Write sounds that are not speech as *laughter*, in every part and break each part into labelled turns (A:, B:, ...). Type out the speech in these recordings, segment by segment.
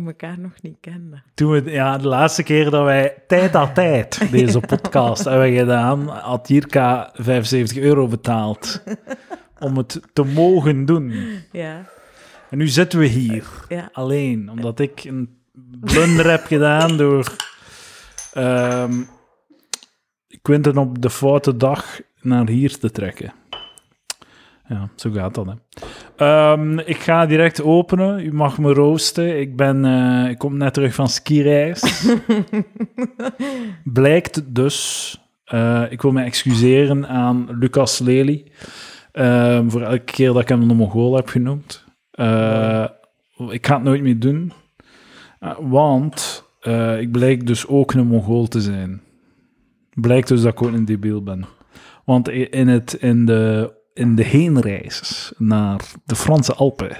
A: we elkaar nog niet kenden.
B: Toen we, ja, de laatste keer dat wij tijd aan tijd deze podcast hebben gedaan, had Jirka 75 euro betaald om het te mogen doen.
A: Ja,
B: En nu zitten we hier,
A: ja.
B: alleen, omdat ik een blunder heb gedaan door ehm Quinten op de foute dag naar hier te trekken. Ja, zo gaat dat, hè. Ehm, ik ga direct openen. U mag me roosten. Ik, ben, eh, ik kom net terug van skireis. Blijkt dus... eh, ik wil me excuseren aan Lucas Lely ehm, voor elke keer dat ik hem de Mongool heb genoemd. Eh, ik ga het nooit meer doen. Eh, want eh, ik blijk dus ook een Mongool te zijn. Blijkt dus dat ik ook een debiel ben. Want i- in, het, in, de, in de heenreis naar de Franse Alpen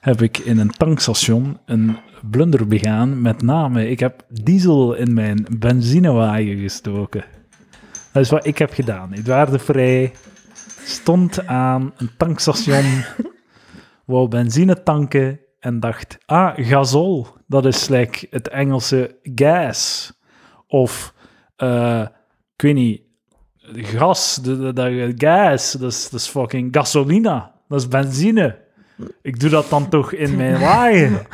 B: heb ik in een tankstation een blunder begaan. Met name, ik heb diesel in mijn benzinewagen gestoken. Dat is wat ik heb gedaan. Edouard de Vrij stond aan een tankstation, wou benzine tanken en dacht, ah, gasol, dat is like het Engelse gas. Of, eh, ik weet niet, gas, de, de, de- gas, dat is, dat is fucking gasolina, dat is benzine. Ik doe dat dan toch in mijn wagen.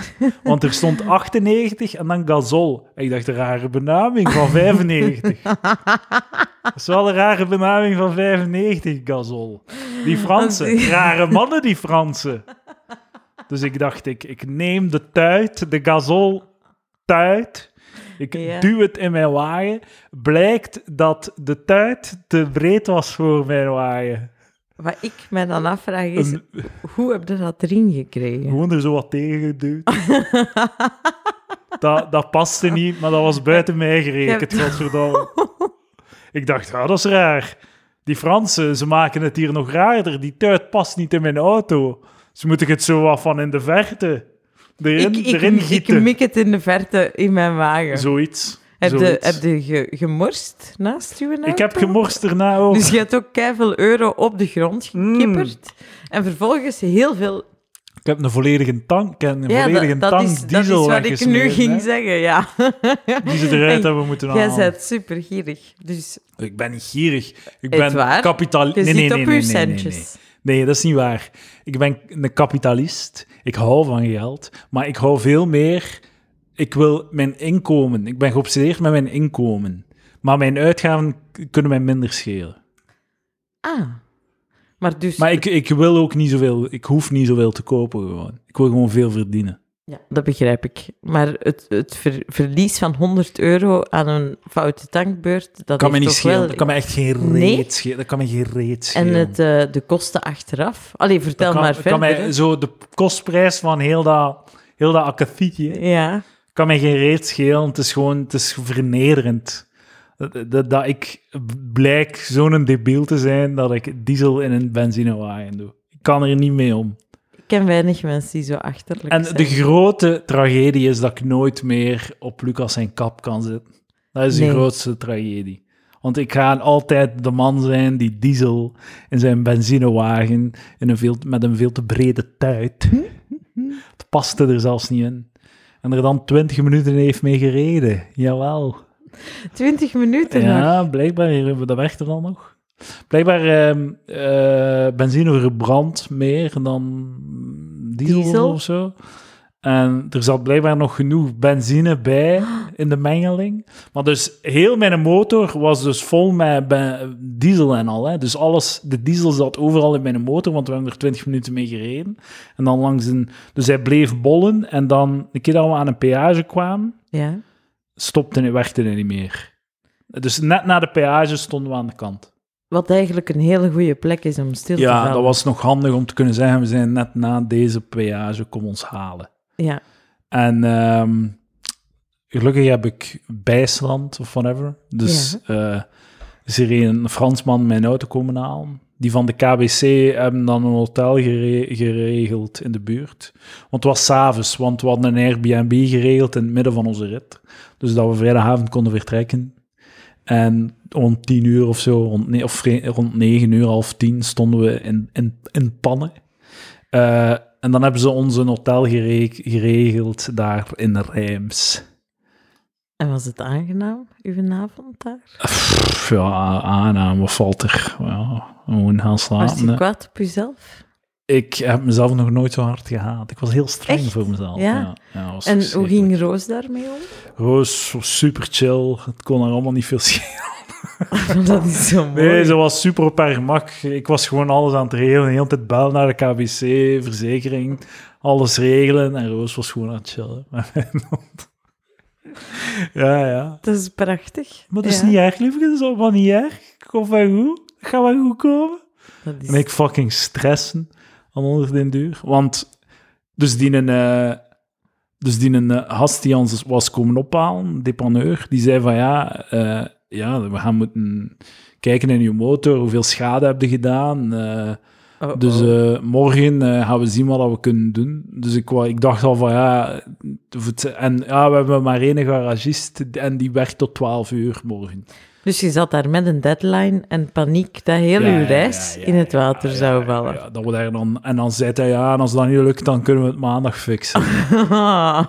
B: Want er stond 98 en dan gasol. En ik dacht, een rare benaming van 95. Dat is wel een rare benaming van 95, gasol. Die Fransen,
A: Want die-
B: rare mannen die Fransen. Dus ik dacht, ik, ik neem de tuit, de gasol tuit. Ik
A: Ja.
B: duw het in mijn wagen. Blijkt dat de tuit te breed was voor mijn wagen.
A: Wat ik me dan afvraag is,
B: Een-
A: hoe heb je dat erin gekregen?
B: Gewoon er zo wat tegen geduwd. dat, dat paste niet, maar dat was buiten mij gerekend,
A: Ja.
B: godverdomme. Ik dacht, ah, dat is raar. Die Fransen, ze maken het hier nog raarder. Die tuit past niet in mijn auto. Ze moeten het zo wat van in de verte erin,
A: Ik, ik,
B: erin
A: ik
B: gieten.
A: mik het in de verte in mijn wagen.
B: Zoiets.
A: heb je,
B: zoiets.
A: heb je ge- gemorst naast je auto?
B: Ik heb gemorst daarna ook.
A: Dus je hebt ook keiveel euro op de grond
B: Mm.
A: gekipperd. En vervolgens heel veel...
B: Ik heb een volledige tank, ik heb een
A: Ja,
B: volledige
A: dat, dat
B: tank
A: is, dat is
B: diesel
A: wat ik nu
B: weggesmeerd,
A: ging
B: hè,
A: zeggen,
B: *laughs*
A: ja.
B: Die ze eruit
A: En
B: hebben moeten
A: Jij
B: halen.
A: bent supergierig. Dus
B: Ik ben niet gierig. Ik
A: Echt
B: ben
A: waar?
B: kapitalist.
A: je
B: Nee,
A: zit
B: nee,
A: op
B: nee,
A: uw
B: nee, nee, nee,
A: centjes.
B: nee. Nee, dat is niet waar. Ik ben een kapitalist. Ik hou van geld. Maar ik hou veel meer... Ik wil mijn inkomen. Ik ben geobsedeerd met mijn inkomen. Maar mijn uitgaven k- kunnen mij minder schelen.
A: Ah. Maar dus...
B: Maar ik, ik wil ook niet zoveel... Ik hoef niet zoveel te kopen gewoon. Ik wil gewoon veel verdienen.
A: Ja, dat begrijp ik. Maar het, het ver- verlies van 100 euro aan een foute tankbeurt, dat
B: kan
A: is
B: me niet
A: toch
B: schelen.
A: wel...
B: Dat kan me echt geen reet
A: Nee?
B: schelen. Dat kan me geen reet
A: En
B: schelen.
A: het, eh, de kosten achteraf? Allee, vertel
B: dat kan,
A: maar
B: dat
A: verder.
B: kan mij
A: hè.
B: zo de kostprijs van heel dat, heel dat akkefietje
A: Ja,
B: kan mij geen reet schelen. Het is gewoon het is vernederend. Dat, dat, dat ik blijk zo'n debiel te zijn dat ik diesel in een benzinewagen doe. Ik kan er niet mee om.
A: ik ken weinig mensen die zo achterlijk
B: En
A: zijn.
B: de grote tragedie is dat ik nooit meer op Lucas zijn kap kan zitten. Dat is
A: Nee.
B: de grootste tragedie. Want ik ga altijd de man zijn die diesel in zijn benzinewagen in een veel, met een veel te brede tuit. Het paste er zelfs niet in. En er dan twintig minuten heeft mee gereden. Jawel.
A: 20 minuten nog.
B: Ja, blijkbaar, dat werkt er dan nog. Blijkbaar ehm, eh, benzine verbrandt meer dan diesel,
A: Diesel?
B: of zo. En er zat blijkbaar nog genoeg benzine bij in de mengeling. Maar dus heel mijn motor was dus vol met be- diesel en al. Hè. Dus alles, de diesel zat overal in mijn motor, want we hebben er 20 minuten mee gereden. En dan langs een... Dus hij bleef bollen. En dan, een keer dat we aan een peage kwamen,
A: Ja.
B: stopte en werkte hij niet meer. Dus net na de peage stonden we aan de kant.
A: Wat eigenlijk een hele goede plek is om stil te
B: Ja,
A: vallen.
B: dat was nog handig om te kunnen zeggen, we zijn net na deze peage, kom ons halen.
A: Ja,
B: En ehm, gelukkig heb ik bijstand of whatever. Dus eh, is er een Fransman mijn auto komen halen. Die van de KBC hebben dan een hotel gere- geregeld in de buurt. Want het was s'avonds, want we hadden een Airbnb geregeld in het midden van onze rit. Dus dat we vrijdagavond konden vertrekken. En rond tien uur of zo, rond ne- of vri- rond negen uur, half tien, stonden we in, in, in pannen. Eh, En dan hebben ze ons een hotel gere- geregeld daar in Rijms.
A: En was het aangenaam, uw avond daar?
B: Pff, ja, aannaam, wat valt er? Ja, gewoon gaan
A: was
B: slapen.
A: je
B: hè.
A: kwaad op jezelf?
B: Ik heb mezelf nog nooit zo hard gehaat. Ik was heel streng
A: Echt?
B: voor mezelf.
A: Ja?
B: Ja, ja, was
A: En hoe
B: verschrikkelijk.
A: ging Roos daarmee om? *laughs*
B: Roos was super chill. Het kon haar allemaal niet veel *laughs* schelen.
A: dat is zo mooi.
B: Nee, ze was super op haar gemak. Ik was gewoon alles aan het regelen. De hele tijd bellen naar de KBC, verzekering, alles regelen. En Roos was gewoon aan het chillen *laughs* met mijn hond. Ja, ja.
A: Dat is prachtig.
B: Maar dat is
A: Ja,
B: niet erg, liefje. Dat is allemaal niet erg. Komt wel goed. Het gaat wel goed komen.
A: Dat is...
B: En ik fucking stressen aan onder den duur. Want, dus die een, eh, dus die een eh, gast die ons was komen ophalen, depaneur, die zei van ja, eh, ja, we gaan moeten kijken in je motor, hoeveel schade heb je gedaan. eh,
A: Oh, oh.
B: dus eh, morgen eh, gaan we zien wat dat we kunnen doen. Dus ik, wa- ik dacht al van ja, of het- en ja, we hebben maar één garagist en die werkt tot 12 uur morgen.
A: Dus je zat daar met een deadline en paniek dat heel
B: Ja,
A: uw
B: ja,
A: reis
B: ja, ja,
A: in het
B: ja, Ah,
A: water
B: ja,
A: zou
B: ja,
A: vallen.
B: ja, dat we daar dan, en dan zei hij, ja, en als dat niet lukt, dan kunnen we het
A: *laughs*
B: maandag fixen.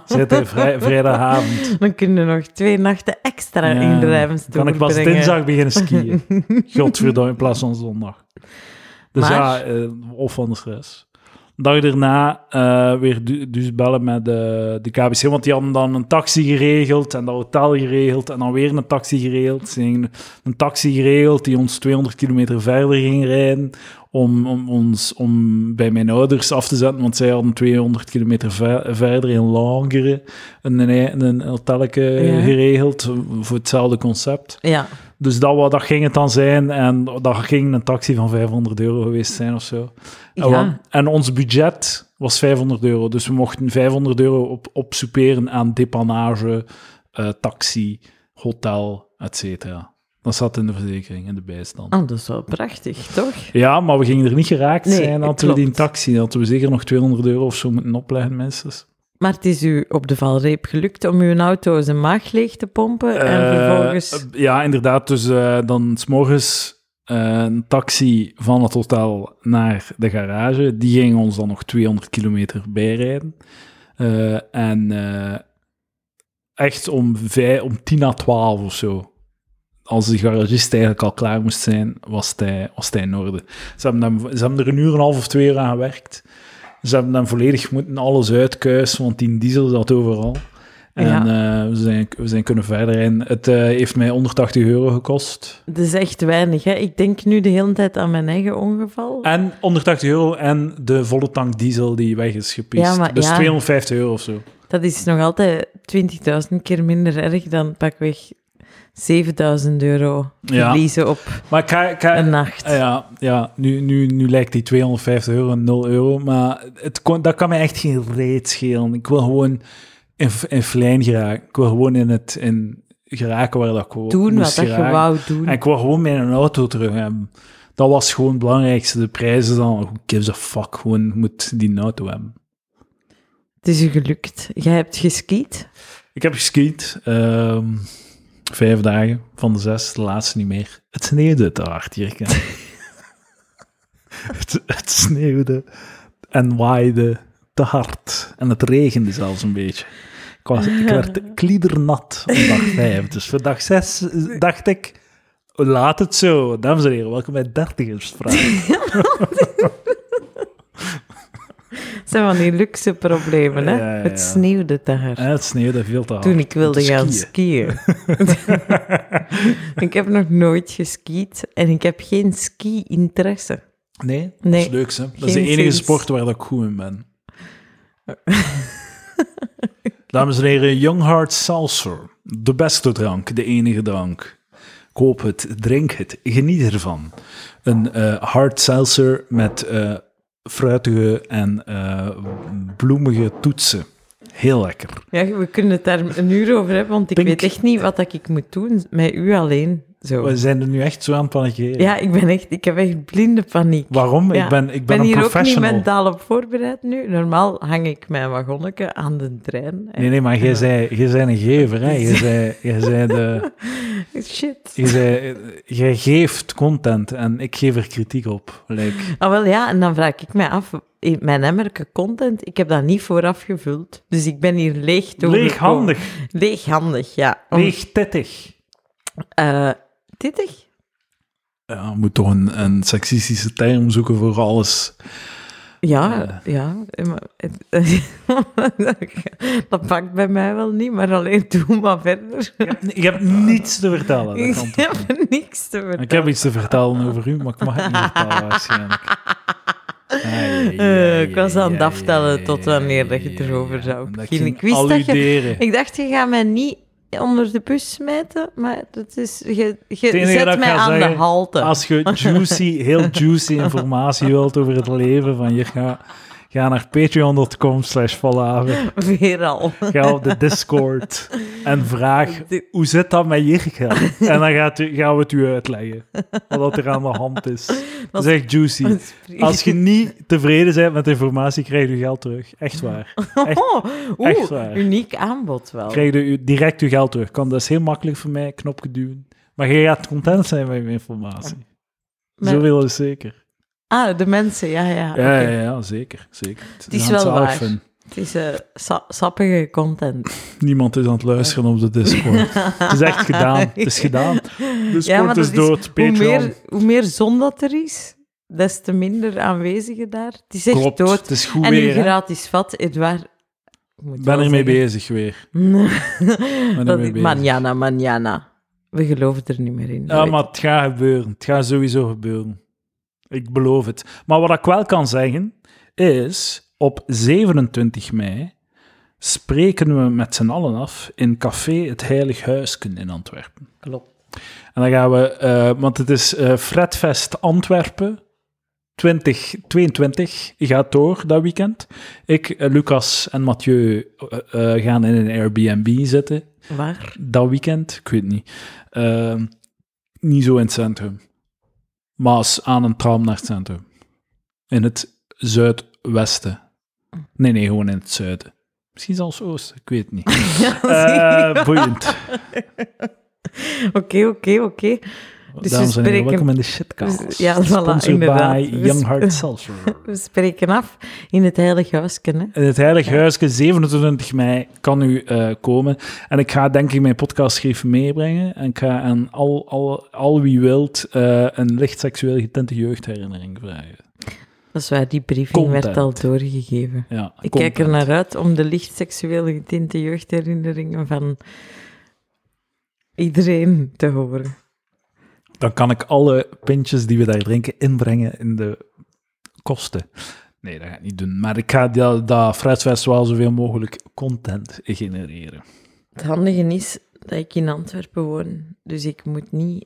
B: zei hij vrij, vrijdagavond.
A: Dan kunnen we nog twee nachten extra
B: Ja,
A: in de rijms
B: kan ik pas
A: doorbrengen.
B: dinsdag beginnen
A: *laughs*
B: skiën. Godverdomme, in plaats van zondag. Dus ja,
A: Maar-
B: eh, of van de stress. Dag daarna eh, weer du- dus bellen met de, de KBC, want die hadden dan een taxi geregeld en dat hotel geregeld en dan weer een taxi geregeld. Ze gingen een taxi geregeld die ons 200 kilometer verder ging rijden om, om ons om bij mijn ouders af te zetten, want zij hadden 200 kilometer ver- verder in Langere een, een, een hotelletje
A: Ja.
B: geregeld voor hetzelfde concept.
A: Ja,
B: Dus dat, wa- dat ging het dan zijn. En dat ging een taxi van 500 euro geweest zijn of zo. En,
A: Ja.
B: wa- en ons budget was 500 euro. Dus we mochten 500 euro op, opsoeperen aan depanage, eh, taxi, hotel, et cetera. Dat zat in de verzekering, in de bijstand.
A: oh, dat is wel prachtig, toch?
B: Ja, maar we gingen er niet geraakt
A: Nee,
B: zijn. Hadden
A: klopt.
B: we die taxi, dan hadden we zeker nog 200 euro of zo moeten opleggen, mensen.
A: Maar het is u op de valreep gelukt om uw auto zijn maag leeg te pompen en
B: Eh,
A: vervolgens...
B: eh, ja, inderdaad. Dus eh, dan s'morgens eh een taxi van het hotel naar de garage. Die ging ons dan nog 200 kilometer bijrijden. Eh, en eh, echt om, vij- om 10 à 12 of zo. Als de garagist eigenlijk al klaar moest zijn, was hij, was hij in orde. Ze hebben, hem, ze hebben er een uur en een half of twee uur aan gewerkt. Ze hebben hem volledig moeten alles uitkuisen, want die diesel zat overal. En
A: Ja.
B: eh, we, zijn, we zijn kunnen verder. En het eh, heeft mij 180 euro gekost.
A: Dat is echt weinig, hè? Ik denk nu de hele tijd aan mijn eigen ongeval.
B: En 180 euro en de volle tank diesel die weg is gepiest.
A: Ja, maar
B: dus
A: ja.
B: 250 euro of zo.
A: Dat is nog altijd 20.000 keer minder erg dan pakweg 7.000 euro
B: Ja.
A: verliezen op
B: Maar ik ga... ik ga-
A: een nacht.
B: Ah, Ja, ja nu, nu, nu lijkt die 250 euro 0 euro, maar het kon, dat kan mij echt geen reet schelen. Ik wil gewoon in, f- in flijn geraken. Ik wil gewoon in het in geraken waar dat ik wou-
A: Doen wat
B: moest
A: dat je
B: geraken.
A: wou doen.
B: En ik wil gewoon mijn auto terug hebben. Dat was gewoon het belangrijkste. De prijzen dan, who gives a fuck, gewoon je moet die auto hebben.
A: Het is je gelukt. Jij hebt geskiet.
B: Ik heb geskiet, ehm, vijf dagen van de zes, de laatste niet meer. Het sneeuwde te hard hier. Ken.
A: *laughs*
B: het, het sneeuwde en waaide te hard. En het regende zelfs een beetje. Ik,
A: *laughs*
B: was, ik werd kliedernat op dag vijf. Dus voor dag zes dacht ik, laat het zo. Dames en heren, welkom
A: *laughs*
B: bij Dertigersvraag.
A: Dat zijn van die luxe problemen, hè?
B: Ja, ja, ja.
A: Het sneeuwde te hard.
B: En het sneeuwde veel te hard.
A: Toen ik wilde
B: om te
A: gaan
B: skiën.
A: skiën.
B: *laughs*
A: ik heb nog nooit geskiet en ik heb geen ski-interesse.
B: Nee, dat
A: Nee,
B: is leuk, hè? Dat is de
A: geen
B: enige
A: sinds.
B: sport waar dat ik goed in ben. *laughs* Dames en heren, Young Heart Seltzer. De beste drank, de enige drank. Koop het, drink het, geniet ervan. Een eh hard seltzer met eh, fruitige en eh, bloemige toetsen. Heel lekker.
A: Ja, we kunnen het daar een uur over hebben, want ik
B: Pink.
A: weet echt niet wat dat ik moet doen met u alleen. Zo.
B: We zijn er nu echt zo aan het panikeren.
A: Ja, ik ben echt, ik heb echt blinde paniek.
B: Waarom?
A: Ja.
B: Ik ben, ik
A: Ik
B: ben,
A: ben
B: een
A: hier ook niet
B: professional.
A: mentaal op voorbereid nu. Normaal hang ik mijn wagonnetje aan de trein. En *laughs*
B: Nee, nee, maar jij zei, jij zei een gever, hè? Jij zei, jij zei de...
A: Shit.
B: Je zei, eh, jij geeft content en ik geef er kritiek op. Like,
A: *laughs* Ah, wel ja, en dan vraag ik mij af, eh, mijn emmerke content, ik heb dat niet vooraf gevuld. Dus ik ben hier leeg doorgekomen.
B: leeghandig,
A: Leeghandig, ja. Om-
B: leegtettig.
A: eh, tittig?
B: Ja, je moet toch een, een seksistische term zoeken voor alles.
A: Ja, ja. eh, maar het- *laughs* dat pakt bij mij wel niet, maar alleen doe maar verder.
B: Je hebt, je hebt niets te vertellen.
A: *laughs*
B: dat
A: Ik
B: kan toch niet?
A: heb niks te vertellen.
B: Ik heb iets te vertellen over u, maar ik mag het niet vertellen waarschijnlijk.
A: Eh, ik was aan het aftellen tot wanneer dat je het erover zou beginnen. Ik wist dat je-
B: alluderen.
A: Ik dacht, je gaat mij niet onder de bus smijten, maar dat is, je, je
B: enige dat
A: zet
B: ik
A: mij
B: ga
A: aan de
B: zeggen,
A: halte. *laughs*
B: Als je juicy, heel juicy informatie wilt over het leven van je, ga, ga naar patreon.com slash Vallave.
A: Weer al. *laughs*
B: Ga op de Discord en vraag, hoe zit dat met Jirka? En dan gaat u, gaan we het u uitleggen, wat er aan de hand is. Dat is echt juicy. Als je niet tevreden bent met de informatie, krijg je uw geld terug. Echt waar. echt-
A: *laughs* Oh, oeh,
B: echt waar.
A: uniek aanbod wel.
B: Krijg je uw- direct uw geld terug. Kan, dat is heel makkelijk voor mij, knopje duwen. Maar je gaat content zijn met je informatie.
A: Maar-
B: Zoveel is zeker.
A: Ah, de mensen, ja, ja. oké.
B: Ja, ja, ja, zeker. zeker. Het
A: is
B: aan het
A: wel
B: zalig
A: waar.
B: vinden.
A: Het is eh, sa- sappige content.
B: Niemand is aan het luisteren op de Discord. Oh, het is echt gedaan. Het
A: *laughs*
B: is gedaan. Discord
A: Ja, maar dat
B: is
A: is-
B: dood.
A: Hoe
B: Patreon.
A: meer, hoe meer zon dat er is, des te minder aanwezigen daar. Het is echt
B: Klopt.
A: dood.
B: Het is goed
A: En uw
B: weer. hè.
A: gratis vat, Edouard. Ik moet
B: Ik
A: wel
B: ben ermee
A: zeggen-
B: bezig weer.
A: *laughs* Nee.
B: ermee
A: dat
B: bezig.
A: manjana, manjana. We geloven er niet meer in.
B: Ja, maar het gaat gebeuren. Het gaat sowieso gebeuren. Ik beloof het. Maar wat ik wel kan zeggen, is op 27 mei spreken we met z'n allen af in Café Het Heilig Huisken in Antwerpen.
A: klopt.
B: En dan gaan we, eh, want het is eh Fredfest Antwerpen 2022 gaat door dat weekend. Ik, eh, Lucas en Mathieu eh, eh, gaan in een Airbnb zitten
A: Waar?
B: dat weekend, ik weet niet. Ehm, niet zo in het centrum. Maar als aan een tram naar het centrum. In het zuidwesten. Nee, nee, gewoon in het zuiden. Misschien zelfs oosten, ik weet
A: *laughs*
B: het niet. Eh boeiend.
A: Oké, oké, oké. Dus we
B: Dames en heren,
A: spreken-
B: welkom in de shitcast.
A: Dus- ja, voilà,
B: Sponsored
A: inderdaad. Dus-
B: by
A: We
B: Young
A: sp-
B: Heart Seltzer.
A: *laughs* We spreken af in het Heilige Huisken. Hè?
B: In het Heilig Huisje, 27 mei, kan u eh, komen. En ik ga denk ik mijn podcastschrift meebrengen. En ik ga aan al, al, al wie wilt eh, een licht seksueel getinte jeugdherinnering vragen.
A: Dat is waar, die briefing werd al
B: Content.
A: doorgegeven.
B: Ja,
A: Ik
B: content.
A: kijk er naar uit om de licht seksueel getinte jeugdherinneringen van iedereen te horen.
B: Dan kan ik alle pintjes die we daar drinken inbrengen in de kosten. Nee, dat ga ik niet doen. Maar ik ga dat, dat Fruitfest wel zoveel mogelijk content genereren.
A: Het handige is dat ik in Antwerpen woon, dus ik moet niet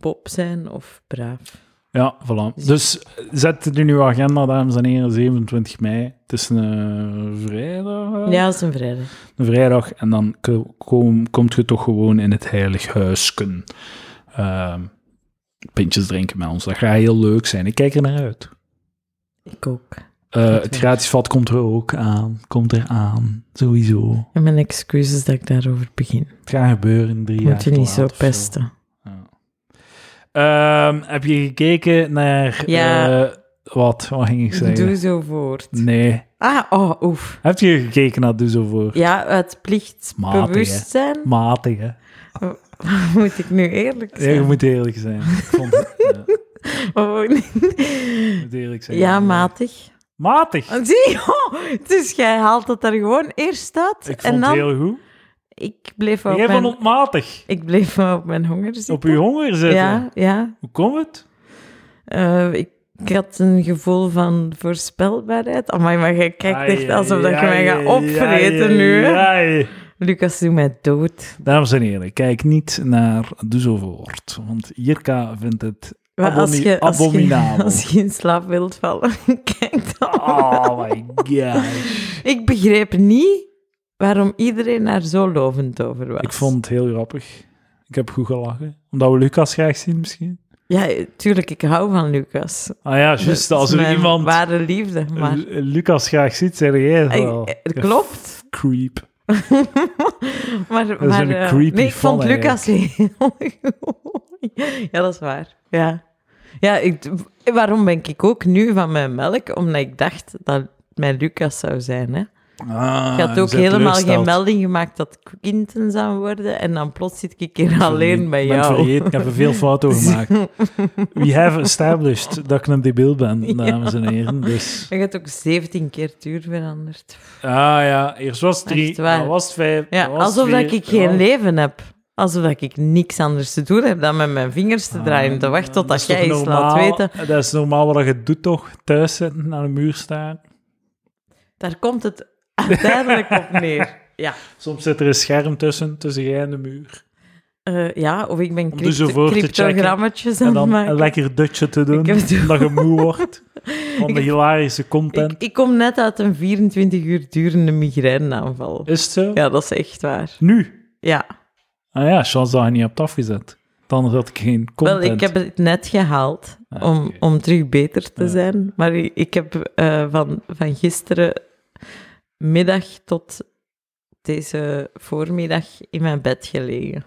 A: Bob zijn of braaf.
B: Ja, voilà. Dus zet het in uw agenda, dames en heren, 27 mei. Het is een eh, vrijdag. eh?
A: Ja, dat is een vrijdag.
B: een vrijdag en dan ko- kom, komt je toch gewoon in het heilig huisken ehm, pintjes drinken met ons. Dat gaat heel leuk zijn. Ik kijk er naar uit.
A: Ik ook.
B: Eh,
A: Dat
B: het
A: wel.
B: gratis vat komt er ook aan. Komt er aan. Sowieso.
A: En mijn excuses dat ik daarover begin.
B: Het gaat gebeuren in drie jaar.
A: moet je
B: te
A: niet
B: laat
A: zo
B: of
A: pesten.
B: Ja. Ehm, heb je gekeken naar...
A: Ja.
B: eh, wat? Wat ging ik zeggen?
A: Doe zo voort.
B: Nee.
A: Ah, oh, oef.
B: Heb je gekeken naar Doe Zo Voor?
A: Ja, uit
B: Matig, hè.
A: plichtsbewustzijn
B: Matig, hè?
A: *laughs* moet ik nu eerlijk
B: Ja, je
A: zijn.
B: moet eerlijk zijn. Ik vond het- ja,
A: Oh,
B: je
A: nee.
B: moet eerlijk zijn.
A: Ja, matig.
B: Matig.
A: Ah, Zie je? Dus jij haalt het er gewoon eerst uit.
B: Ik vond
A: en dan,
B: het heel goed.
A: ik, bleef op
B: Jij
A: mijn,
B: vond het matig.
A: ik bleef wel op mijn honger zitten.
B: Op je honger zitten.
A: Ja, ja.
B: Hoe komt het?
A: Eh, ik, ik had een gevoel van voorspelbaarheid. Amai, maar jij kijkt echt alsof dat je mij gaat opvreten nu. hè.
B: nu.
A: Lucas, doe mij dood.
B: Dames en heren, kijk niet naar Doe Zo Voort. Want Jirka vindt het
A: Maar als
B: abomi-
A: je, als, je,
B: abominabel.
A: als je in slaap wilt vallen, *laughs* kijk dan.
B: Oh my gosh.
A: Ik begreep niet waarom iedereen daar zo lovend over was.
B: Ik vond het heel grappig. Ik heb goed gelachen. Omdat we Lucas graag zien misschien.
A: Ja, tuurlijk, ik hou van Lucas.
B: *laughs* Ah ja,
A: Dat is
B: juist. Als er
A: mijn
B: iemand
A: ware liefde, maar...
B: Lu- Lucas graag ziet, zeg jij het wel.
A: Ik- eh, klopt.
B: Creep.
A: maar,
B: is
A: maar,
B: een
A: eh,
B: creepy
A: nee, ik vond
B: fan
A: Lucas heel *laughs* goed. Ja, dat is waar. Ja, ja ik, waarom ben ik ook nu van mijn melk? Omdat ik dacht dat mijn Lucas zou zijn. Hè?
B: Ah,
A: Ik had ook helemaal geen melding gemaakt dat ik Quinten zou worden. En dan plots zit ik hier alleen bij
B: Ik
A: jou.
B: vergeten, ik heb er veel fouten gemaakt.
A: *laughs*
B: We have established dat ik een debiel ben, dames en heren. Dus.
A: Je hebt ook 17 keer tuur veranderd.
B: Ah ja, eerst was het drie,
A: Echt waar.
B: dan was het vijf,
A: Ja,
B: dan was het
A: alsof dat
B: vier,
A: ik geen
B: dan-
A: leven heb. Alsof dat ik niks anders te doen heb dan met mijn vingers te draaien. te wachten
B: Ah, Dat
A: totdat
B: is toch
A: jij iets laat
B: normaal?
A: weten.
B: Dat is normaal wat je doet toch? Thuis zitten, aan de muur staan.
A: Daar komt het uiteindelijk op neer.
B: *laughs*
A: Ja.
B: Soms zit er een scherm tussen, tussen jij en de muur.
A: Eh, ja, of ik ben
B: Om dus
A: crypto-
B: ervoor te checken
A: cryptogrammetjes aan
B: En
A: het
B: dan
A: maken.
B: een lekker dutje te doen,
A: Ik heb het
B: omdat je moe wordt
A: *laughs*
B: van
A: Ik
B: de
A: heb-
B: hilarische content.
A: Ik, ik kom net uit een 24 uur durende migraineaanval.
B: Is het zo?
A: Ja, dat is echt waar.
B: Nu?
A: Ja.
B: Ah ja, chance dat je niet hebt afgezet. Dan had ik geen content.
A: Wel, ik heb het net gehaald
B: Ah,
A: om,
B: oké.
A: om terug beter te
B: Ja.
A: zijn. Maar i- ik heb eh, van, van gisteren middag tot deze voormiddag in mijn bed gelegen.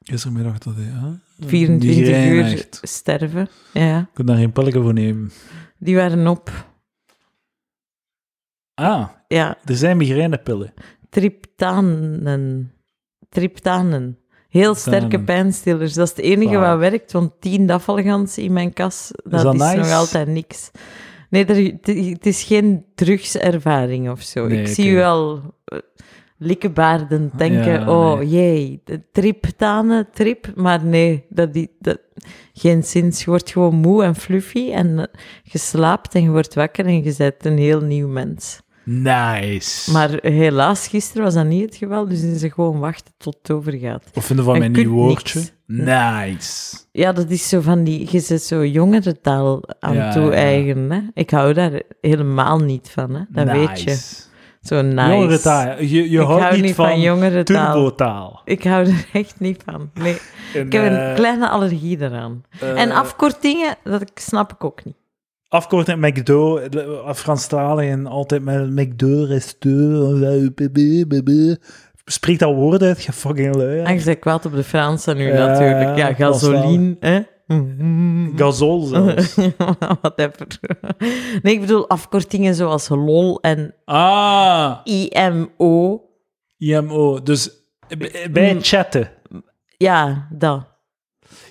B: Gistermiddag dat ja.
A: 24
B: Migraine
A: uur
B: echt.
A: sterven. Ja,
B: Ik kon daar geen pilletje voor nemen.
A: die waren op.
B: Ah,
A: Ja,
B: er zijn migrainepillen.
A: triptanen. Triptanen. Heel sterke
B: Triptanen.
A: pijnstillers. Dat is het enige
B: Waar.
A: wat werkt, want 10 daffelganzen in mijn kas, dat is,
B: dat nice?
A: nog altijd niks. Nee, er- t- het is geen drugservaring of zo.
B: Nee,
A: ik
B: oké.
A: zie u al eh, likkebaarden denken,
B: Ja,
A: oh
B: nee.
A: jee, de triptanen, trip. Maar nee, dat die, dat, geen zins. Je wordt gewoon moe en fluffy en eh, je slaapt en je wordt wakker en je bent een heel nieuw mens.
B: Nice.
A: Maar helaas, gisteren was dat niet het geval, dus is ze gewoon wachten tot het overgaat.
B: Of vinden van
A: je
B: mijn
A: kunt
B: nieuw woordje?
A: niks.
B: Nice.
A: Ja, dat is zo van die, je zit zo jongere taal aan
B: Ja,
A: toe
B: ja, ja.
A: eigen. Hè? Ik hou daar helemaal niet van, hè? dat weet je. Zo nice.
B: Jongere taal. Je, je
A: Ik hou
B: houdt
A: niet
B: niet van,
A: van jongere taal.
B: turbotaal. eh,
A: Ik hou er *laughs* echt niet van. Nee. Ik heb een kleine allergie eraan. en afkortingen, dat ik- snap ik ook niet.
B: Afkorting McDo, eh, Franstalig en altijd met McDo, restaurant, eh, b- b- b- spreek dat woord uit, je fucking
A: En
B: lui.
A: je bent kwaad op de Fransen nu
B: Ja,
A: natuurlijk. Ja, gasoline, hè?
B: Gazol zelfs.
A: *laughs* Whatever. Nee, ik bedoel afkortingen zoals LOL en
B: ah,
A: IMO.
B: IMO. Dus b- bij
A: Mm.
B: chatten.
A: Ja, dat.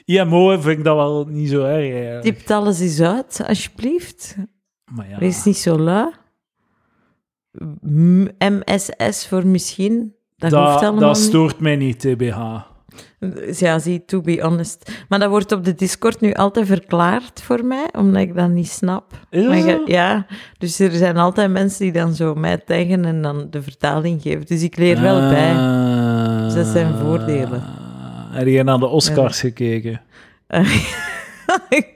B: IMO vind ik dat wel niet zo erg. eigenlijk.
A: Tip alles eens uit, alsjeblieft.
B: Maar ja.
A: Wees niet zo lui. M- MSS voor misschien. Dat, hoeft
B: Dat,
A: allemaal
B: dat
A: niet.
B: stoort mij niet, TBH.
A: Ja, zie, to be honest. Maar dat wordt op de Discord nu altijd verklaard voor mij, omdat ik dat niet snap.
B: Is dat
A: Maar
B: zo?
A: je- ja, dus er zijn altijd mensen die dan zo mij tegen en dan de vertaling geven. Dus ik leer wel bij.
B: Ah.
A: Dus dat zijn voordelen.
B: Heb je naar de Oscars gekeken?
A: *laughs* nee,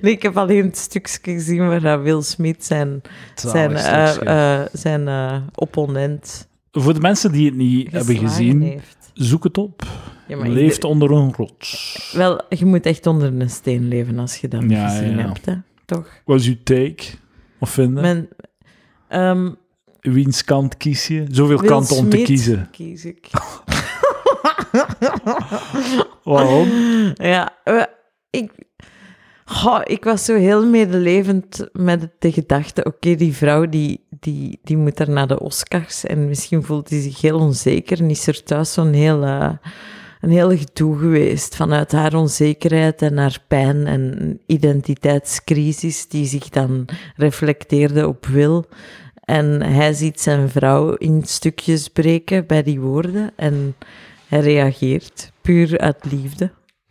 A: ik heb alleen het stukje gezien waar dat Will Smith zijn, zijn,
B: Zalig
A: eh,
B: stukje.
A: eh, zijn eh, opponent
B: Voor de mensen die het niet hebben
A: geslagen
B: gezien,
A: heeft.
B: zoek het op.
A: Ja, maar
B: Leeft
A: ieder-
B: onder een rots.
A: Wel, je moet echt onder een steen leven als je dat
B: Ja,
A: gezien
B: ja, ja.
A: hebt, hè? toch?
B: Was uw take? Of vinden?
A: Men, ehm,
B: Wiens kant kies je? Zoveel
A: Will
B: kanten om te
A: Smith
B: kiezen.
A: Kies ik.
B: Waarom?
A: *clears throat* ja, eh, ik, Goh, ik was zo heel medelevend met de gedachte: oké, die vrouw die, die, die moet daar naar de Oscars en misschien voelt hij zich heel onzeker en is er thuis zo'n heel. eh, een heel gedoe geweest vanuit haar onzekerheid en haar pijn en identiteitscrisis die zich dan reflecteerde op Wil. En hij ziet zijn vrouw in stukjes breken bij die woorden en hij reageert puur uit liefde.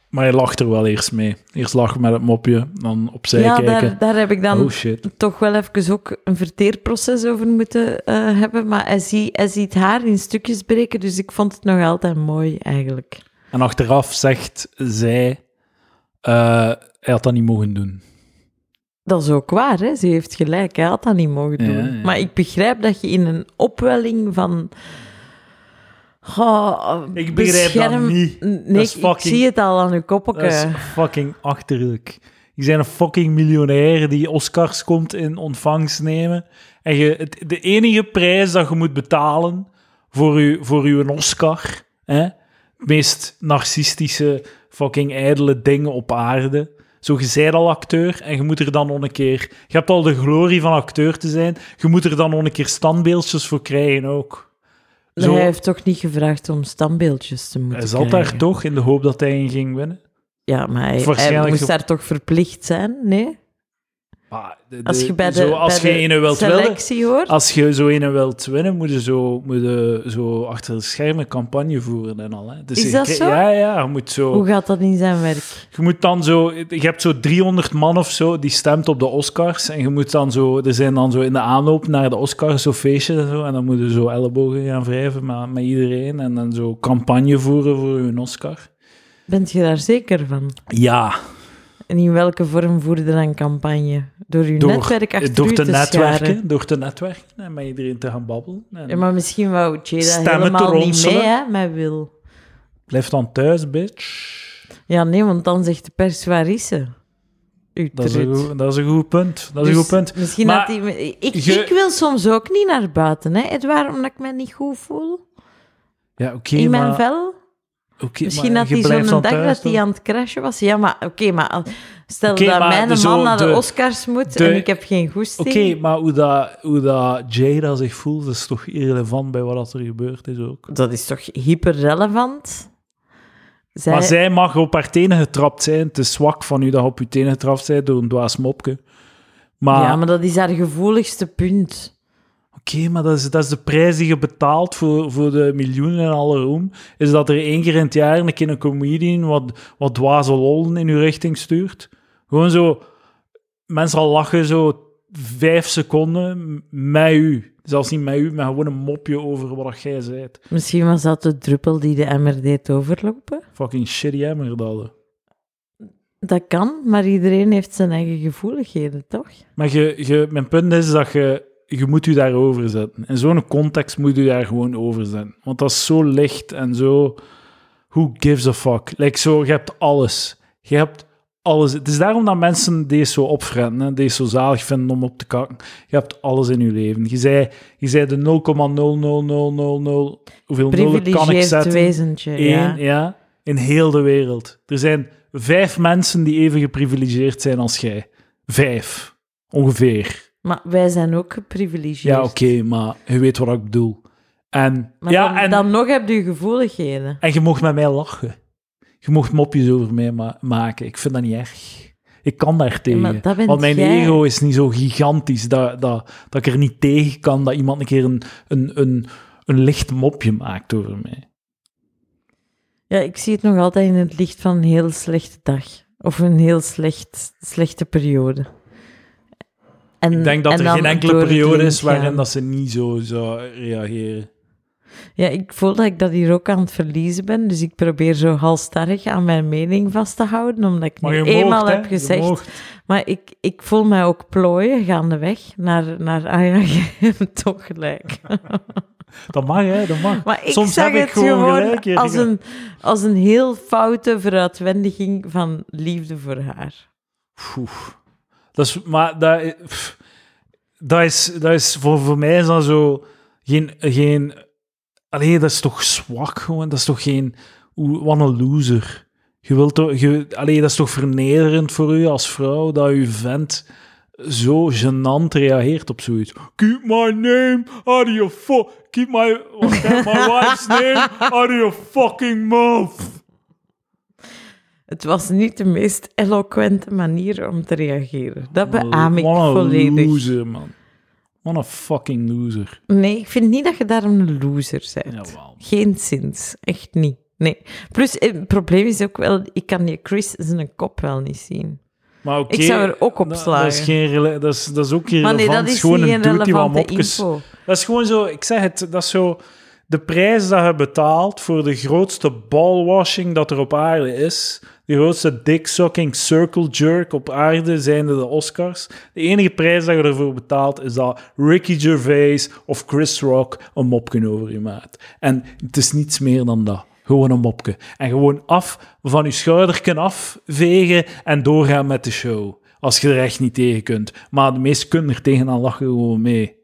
B: Maar je lacht er wel eerst mee. Eerst lachen met het mopje, dan opzij
A: ja,
B: kijken.
A: daar, daar heb ik dan
B: Oh shit.
A: toch wel even ook een verteerproces over moeten eh, hebben. Maar hij, zie, hij ziet haar in stukjes breken, dus ik vond het nog altijd mooi eigenlijk.
B: En achteraf zegt zij: eh, Hij had dat niet mogen doen.
A: Dat is ook waar, hè? ze heeft gelijk. Hij had dat niet mogen
B: Ja,
A: doen.
B: ja.
A: Maar ik begrijp dat je in een opwelling van. Goh,
B: Ik begrijp dat
A: bescherm-
B: niet.
A: Nee,
B: Dat is
A: ik- ik
B: fucking-
A: zie het al aan uw koppelke.
B: Dat is fucking achterlijk. Je zijn een fucking miljonair die Oscars komt in ontvangst nemen. En je, het, de enige prijs dat je moet betalen voor, u, voor uw Oscar. Hè? Het meest narcistische, fucking ijdele ding op aarde. Zo, je zijt al acteur en je moet er dan nog een keer... Je hebt al de glorie van acteur te zijn. Je moet er dan nog een keer standbeeldjes voor krijgen ook.
A: Maar
B: Zo,
A: Hij heeft toch niet gevraagd om standbeeldjes te moeten
B: hij zat daar
A: krijgen?
B: toch in de hoop dat hij een ging winnen.
A: Ja, maar hij, hij
B: Waarschijnlijk
A: moest
B: op-
A: daar toch verplicht zijn? Nee?
B: Maar de-
A: Als
B: de-
A: je bij de,
B: zo, als
A: bij
B: je
A: de
B: ene wilt winnen,
A: selectie hoort?
B: als je zo ene wilt winnen, moet je zo, moet je zo achter de schermen campagne voeren en al. Hè. Dus
A: Is
B: je
A: dat
B: kri-
A: zo?
B: Ja, ja. Je moet zo.
A: Hoe gaat dat in zijn werk?
B: Je moet dan zo, je hebt zo 300 man of zo die stemt op de Oscars. En je moet dan zo, er zijn dan zo in de aanloop naar de Oscars zo feestjes en zo. En dan moeten zo ellebogen gaan wrijven met, met iedereen. En dan zo campagne voeren voor hun Oscar.
A: Bent je daar zeker van?
B: Ja,
A: En in welke vorm voerde dan campagne? Door je
B: Door-
A: netwerk achter
B: door
A: u
B: te,
A: te
B: netwerken.
A: scharen?
B: Door te netwerken en met iedereen te gaan babbelen. En
A: Ja, maar misschien wou Jada
B: Stemmen te
A: helemaal niet mee,
B: ronselen.
A: hè, met Wil.
B: Blijf dan thuis, bitch.
A: Ja, nee, want dan zegt de pers, waar is ze? U
B: Dat is, een
A: trut.
B: goed, dat is een goed punt. Dat is
A: Dus
B: een goed punt.
A: Misschien
B: Maar
A: had hij... Ik,
B: je-
A: ik wil soms ook niet naar buiten, hè, Edouard, omdat ik me niet goed voel.
B: Ja, oké,
A: in mijn
B: maar...
A: vel.
B: oké,
A: Misschien
B: maar
A: dat
B: je
A: hij
B: blijft
A: zo'n
B: dan
A: dag
B: thuis
A: dat hij
B: dan.
A: aan het crashen was. Ja, maar oké, maar als- stel
B: Oké,
A: dat
B: maar
A: mijn
B: zo
A: man naar de,
B: de-
A: Oscars moet
B: de-
A: en ik heb geen goesting.
B: Oké, maar hoe, dat, hoe dat Jada zich voelt, is toch irrelevant bij wat dat er gebeurd is ook.
A: Dat is toch hyperrelevant? Zij,
B: Maar zij mag op haar tenen getrapt zijn. Het is zwak van u dat je op uw tenen getrapt zijn door een dwaas mopje. Maar,
A: Ja, maar dat is haar gevoeligste punt.
B: oké, maar dat is, dat is de prijs die je betaalt voor, voor de miljoenen en alle roem. Is dat er één keer in het jaar een keer een comedian wat, wat dwaze lollen in uw richting stuurt. Gewoon zo... Mensen al lachen zo vijf seconden met u. Zelfs niet met u, maar gewoon een mopje over wat dat jij zei.
A: Misschien was dat de druppel die de emmer deed overlopen.
B: Fucking shitty emmer dat. hè.
A: Dat kan, maar iedereen heeft zijn eigen gevoeligheden, toch?
B: Maar je, je, mijn punt is dat je, je moet je daarover zetten. In zo'n context moet je daar gewoon over zetten. Want dat is zo licht en zo... Who gives a fuck? Like zo, je hebt alles. Je hebt alles. Het is daarom dat mensen deze zo opfretten, hè, deze zo zalig vinden om op te kakken. Je hebt alles in je leven. Je zei, je zei de 0,00000... Hoeveel nullen kan ik
A: Privilegeerd
B: zetten?
A: wezentje,
B: Eén, ja.
A: ja.
B: In heel de wereld. Er zijn vijf mensen die even geprivilegeerd zijn als jij. Vijf. Ongeveer.
A: Maar wij zijn ook geprivilegeerd.
B: Ja, oké, maar je weet wat ik bedoel. En,
A: Maar
B: ja,
A: dan,
B: en,
A: dan nog heb je gevoeligheden.
B: en je mocht met mij lachen. Je mocht mopjes over mij ma- maken. Ik vind dat niet erg. Ik kan daar tegen.
A: maar dat bent
B: Want mijn
A: jij.
B: ego is niet zo gigantisch dat, dat, dat ik er niet tegen kan dat iemand een keer een, een, een, een licht mopje maakt over mij.
A: Ja, ik zie het nog altijd in het licht van een heel slechte dag. Of een heel slecht, slechte periode. En,
B: Ik denk dat
A: Mm. en
B: er
A: dan
B: geen enkele
A: door het
B: periode
A: lint
B: is waarin
A: gaan.
B: dat ze niet zo zou reageren.
A: Ja, ik voel dat ik dat hier ook aan het verliezen ben. Dus ik probeer zo halstarrig aan mijn mening vast te houden. Omdat ik
B: Maar
A: nu
B: je
A: eenmaal
B: moogt, hè.
A: heb
B: Je
A: gezegd...
B: moogt.
A: Maar ik, ik voel mij ook plooien gaandeweg naar... naar ah *laughs* ja, je hebt toch gelijk.
B: Dat mag, hè. Dat mag.
A: Maar ik
B: Soms
A: zag
B: heb ik
A: het
B: gewoon
A: gewoon
B: gelijk, Erika.
A: als, een, als een heel foute veruitwendiging van liefde voor haar.
B: Oef. Dat is, maar dat, i- pff. dat is, dat is voor, voor mij is dat zo geen, geen... Allee, dat is toch zwak gewoon? Dat is toch geen... Oeh, wat een loser. Je wilt toch, je, allee, dat is toch vernederend voor u als vrouw dat uw vent zo gênant reageert op zoiets. Keep my name out of your fuck... Keep my, what,
A: *laughs*
B: my wife's name out of your fucking mouth.
A: Het was niet de meest eloquente manier om te reageren. Dat beaam Ah, ik
B: Wat Oh, een
A: volledig.
B: loser, man. Wat een fucking loser.
A: Nee, ik vind niet dat je daarom een loser bent.
B: Jawel.
A: Geen zins. Echt niet. Nee. Plus, eh, het probleem is ook wel, ik kan die Chris zijn kop wel niet zien.
B: Maar oké,
A: Ik zou er ook op
B: dat-
A: slagen.
B: Dat is, geen, rela- dat, is, dat is ook geen
A: Maar nee, dat
B: relevant.
A: is
B: gewoon
A: niet
B: een
A: een
B: dude die wat
A: relevante
B: mopjes...
A: info.
B: Dat is gewoon zo, ik zeg het, dat is zo... De prijs dat je betaalt voor de grootste ballwashing dat er op aarde is, de grootste dicksucking circle jerk op aarde, zijnde de Oscars, de enige prijs dat je ervoor betaalt is dat Ricky Gervais of Chris Rock een mopje over je maakt. En het is niets meer dan dat. Gewoon een mopje. En gewoon af van je schouderken afvegen en doorgaan met de show. Als je er echt niet tegen kunt. Maar de meesten kunnen er tegenaan lachen gewoon mee.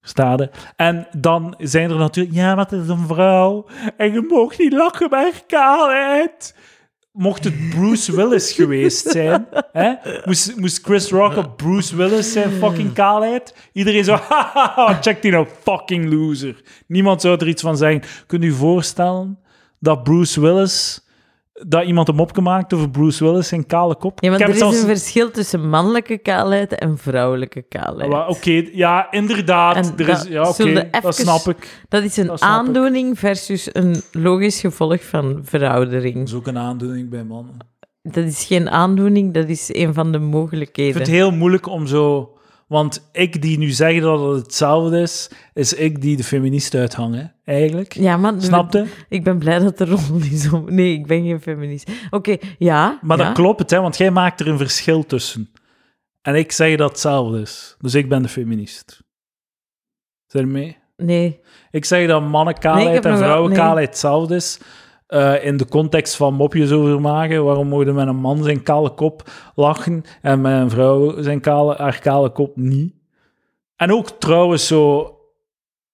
B: Stade. En dan zijn er natuurlijk, ja, maar het is een vrouw. En je mag niet lachen bij haar kaalheid. Mocht het Bruce Willis geweest
A: *laughs*
B: zijn, hè? Moest, moest Chris Rock op Bruce Willis zijn fucking kaalheid, iedereen zo, *laughs* haha, check die nou, fucking loser. Niemand zou er iets van zeggen. Kunt u voorstellen dat Bruce Willis, dat iemand een mopje maakt over Bruce Willis zijn kale
A: Ja,
B: kop? Ik
A: want
B: heb
A: er
B: het
A: is
B: zelfs-
A: een verschil tussen mannelijke kaalheid en vrouwelijke kaalheid.
B: Wel, Oké, ja,
A: En
B: inderdaad. Er is,
A: dat
B: ja, oké,
A: zullen we
B: dat
A: even-
B: snap ik.
A: Dat is een
B: Dat snap ik.
A: aandoening versus een logisch gevolg van veroudering.
B: is ook een aandoening bij mannen.
A: Dat is geen aandoening, dat is een van de mogelijkheden.
B: Ik vind het heel moeilijk om zo. Want ik die nu zeggen dat het hetzelfde is, is ik die de feminist uithang, hè, eigenlijk.
A: Ja, maar
B: Snapte?
A: ik ben blij dat de rol is om... Nee, ik ben geen feminist. Oké, ja.
B: Maar
A: ja.
B: dan klopt het, hè, want jij maakt er een verschil tussen. En ik zeg dat hetzelfde is. Dus ik ben de feminist. Zijn jullie mee?
A: Nee.
B: Ik zeg dat mannenkaalheid
A: Nee, ik heb
B: en
A: nog wel-
B: vrouwenkaalheid hetzelfde is. eh, in de context van mopjes over maken. Waarom mogen met een man zijn kale kop lachen en met een vrouw zijn kale, haar kale kop niet? En ook trouwens, zo,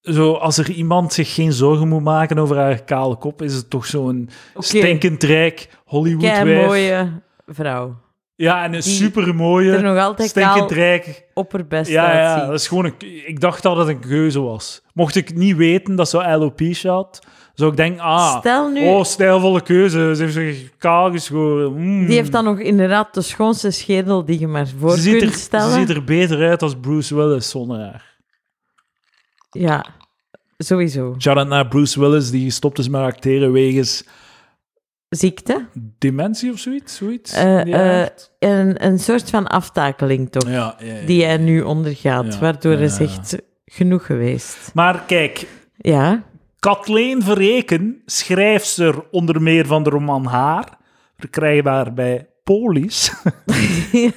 B: zo als er iemand zich geen zorgen moet maken over haar kale kop, is het toch zo'n
A: Oké.
B: stinkend rijk Hollywood
A: Kei
B: wijf.
A: mooie vrouw.
B: Ja, en een
A: die
B: supermooie,
A: Er nog altijd kaal
B: stinkend rijk
A: opperbest
B: ja, ja,
A: uitzien.
B: dat is gewoon een, ik dacht dat het een keuze was. Mocht ik niet weten dat ze alopecia had, zou ik denken, ah,
A: Stel nu,
B: oh, stijlvolle keuze. Ze heeft zich kaal geschoren. mm.
A: die heeft dan nog inderdaad de schoonste schedel die je maar voor
B: ze ziet,
A: kunt
B: er,
A: stellen.
B: ze ziet er beter uit als Bruce Willis zonder haar.
A: Ja, sowieso.
B: Shout-out naar Bruce Willis, die gestopt is met acteren wegens
A: Ziekte.
B: dementie of zoiets. zoiets
A: Eh,
B: die hij
A: eh,
B: heeft.
A: Een, een soort van aftakeling toch,
B: ja, ja, ja.
A: die hij nu ondergaat,
B: Ja,
A: waardoor hij
B: ja.
A: zegt, genoeg geweest.
B: Maar kijk,
A: Ja,
B: Kathleen Verreken, schrijfster onder meer van de roman Haar, verkrijgbaar bij Polis,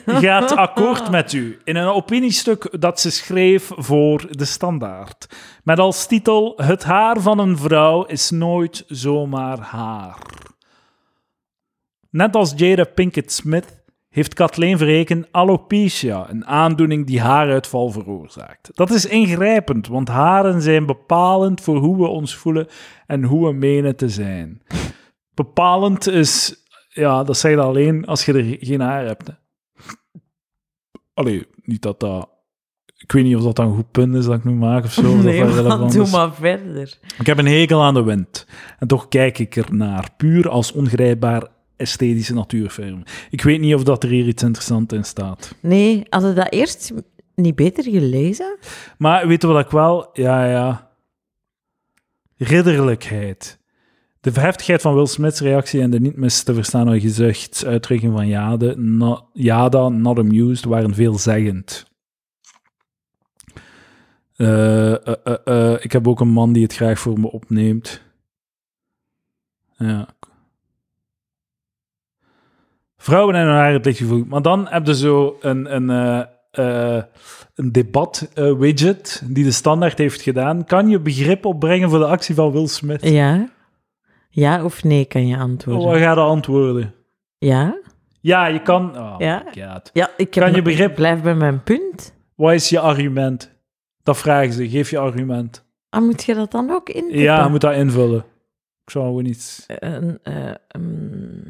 B: gaat akkoord met u in een opiniestuk dat ze schreef voor De Standaard. Met als titel Het haar van een vrouw is nooit zomaar haar. Net als Jada Pinkett Smith heeft Kathleen Verreken alopecia, een aandoening die haaruitval veroorzaakt. Dat is ingrijpend, want haren zijn bepalend voor hoe we ons voelen en hoe we menen te zijn. Bepalend is, ja, dat zeg je alleen als je er geen haar hebt. Hè. Allee, niet dat dat... Ik weet niet of dat dan een goed punt is dat ik nu maak of zo. of dat
A: nee,
B: dat
A: maar
B: relevant dus-
A: doe
B: is.
A: maar verder.
B: Ik heb een hekel aan de wind. En toch kijk ik er naar, puur als ongrijpbaar esthetische natuurfilm. Ik weet niet of dat er hier iets interessants in staat.
A: Nee, hadden we dat eerst niet beter gelezen?
B: Maar weet je wat ik wel... Ja, ja. Ridderlijkheid. De verheftigheid van Will Smith's reactie en de niet mis te verstaande gezichtsuitdrukking van Jade, na- Jada, Not Amused, waren veelzeggend. Eh, eh, eh, eh, ik heb ook een man die het graag voor me opneemt. Ja. Vrouwen en hun haar het licht gevoeld. Maar dan heb je zo een, een, eh, eh, een debat-widget die de standaard heeft gedaan. Kan je begrip opbrengen voor de actie van Will Smith?
A: Ja. Ja of nee kan je antwoorden.
B: Wat ga je antwoorden?
A: Ja? Ja.
B: Ja, je kan... Oh
A: Ja.
B: my god.
A: Ja, ik heb
B: Kan je
A: nog-
B: begrip-
A: blijf bij mijn punt.
B: Wat is je argument? Dat vragen ze. Geef je argument.
A: Ah, moet je dat dan ook intikken?
B: Ja, je moet dat invullen. Ik zou gewoon iets...
A: Een, eh, mm,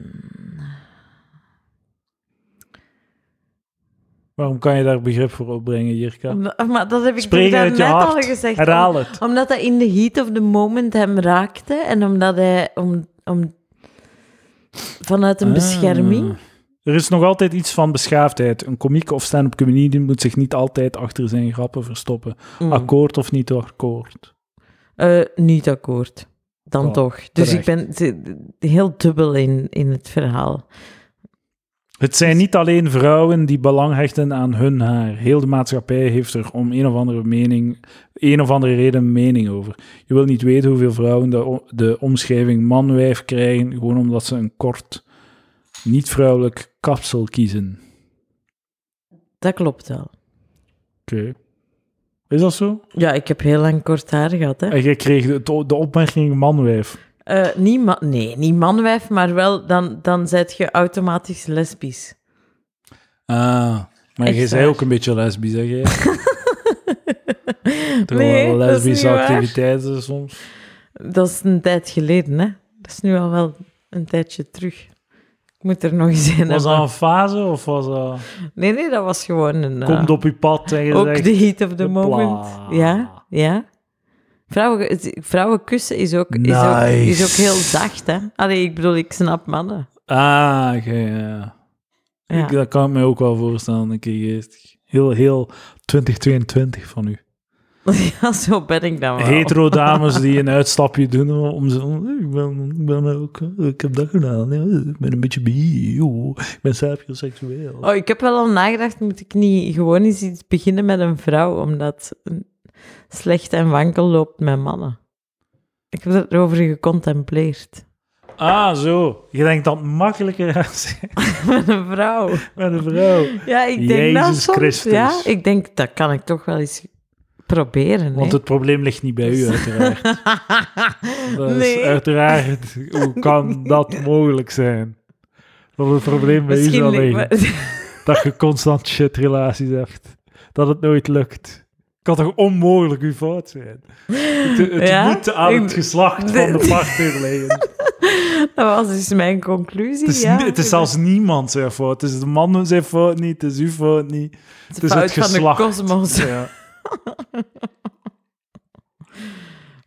B: Waarom kan je daar begrip voor opbrengen, Jirka?
A: omdat- maar dat heb ik
B: Spreek
A: toch
B: uit je
A: daarnet
B: hart.
A: al gezegd.
B: Herhaal het.
A: Om- omdat dat in de heat of the moment hem raakte en omdat hij om, om, vanuit een
B: Ah.
A: bescherming.
B: Er is nog altijd iets van beschaafdheid. Een komiek of stand-up comedian moet zich niet altijd achter zijn grappen verstoppen.
A: Mm.
B: Akkoord of niet akkoord.
A: Eh, niet akkoord. Dan
B: Oh,
A: toch. Dus
B: terecht.
A: ik ben ze- heel dubbel in, in het verhaal.
B: Het zijn niet alleen vrouwen die belang hechten aan hun haar. Heel de maatschappij heeft er om een of andere, mening, een of andere reden een mening over. Je wil niet weten hoeveel vrouwen de, o- de omschrijving man-wijf krijgen, gewoon omdat ze een kort, niet-vrouwelijk kapsel kiezen.
A: Dat klopt wel.
B: Oké. Is dat zo?
A: Ja, ik heb heel lang kort haar gehad. Hè.
B: En jij kreeg de, de opmerking man-wijf.
A: Eh, niet ma- nee, niet manwijf, maar wel dan, dan zijt je automatisch lesbisch.
B: Ah, maar
A: Echt waar.
B: jij
A: *laughs*
B: zei ook een beetje lesbisch, zeg jij? Toch
A: Nee,
B: wel
A: dat is
B: lesbische
A: niet waar.
B: activiteiten soms.
A: Dat is een tijd geleden, hè. Dat is nu al wel een tijdje terug. Ik moet er nog eens in
B: Was dat
A: hebben.
B: een fase of was dat...
A: Nee, nee, dat was gewoon een... eh,
B: Komt op je pad en je
A: ook
B: zegt...
A: de heat of the
B: "Hopla."
A: moment. Ja, ja. Vrouwen, het- vrouwen kussen is ook, is, ook,
B: Nice.
A: is ook heel zacht, hè. Allee, ik bedoel, ik snap mannen.
B: Ah, oké, ja.
A: Ja.
B: Ik- dat kan ik me ook wel voorstellen, een keer geestig. Heel, heel 2022 van u.
A: *laughs* ja, zo ben ik dan wel.
B: *laughs* Hetero dames die een uitstapje doen om ze... "Oh, Ik ben, ik ben ook... Ik heb dat gedaan. ja, Ik ben een beetje bi. joh. Ik ben sapioseksueel.
A: Oh, ik heb wel al nagedacht, moet ik niet gewoon eens iets beginnen met een vrouw, omdat een slecht en wankel loopt met mannen. Ik heb erover gecontempleerd. *laughs*
B: Ah, zo. Je denkt dat het makkelijker *laughs* gaat zijn
A: met een vrouw.
B: met een vrouw.
A: Ja, ik denk dat
B: Jezus
A: soms.
B: Christus.
A: Ja, ik denk, dat kan ik toch wel eens proberen. hè.
B: Want het probleem ligt niet bij
A: *laughs*
B: u, uiteraard. Dat is
A: Nee.
B: uiteraard,
A: *laughs*
B: hoe kan dat mogelijk zijn? Dat het probleem bij u
A: Misschien
B: zal
A: ligt
B: liggen.
A: me-
B: Dat je constant shitrelaties hebt. Dat het nooit lukt. Kan toch onmogelijk uw fout zijn? Het, het
A: Ja?
B: moet aan het
A: Ik-
B: geslacht van de partner
A: *laughs*
B: liggen.
A: *laughs* Dat was dus mijn conclusie.
B: Het is,
A: ja.
B: ni- het is zelfs niemand zijn fout. Het is de man zijn fout niet, het is uw fout niet.
A: Het
B: is
A: fout
B: het geslacht.
A: van de
B: *laughs*
A: kosmos.
B: Ja.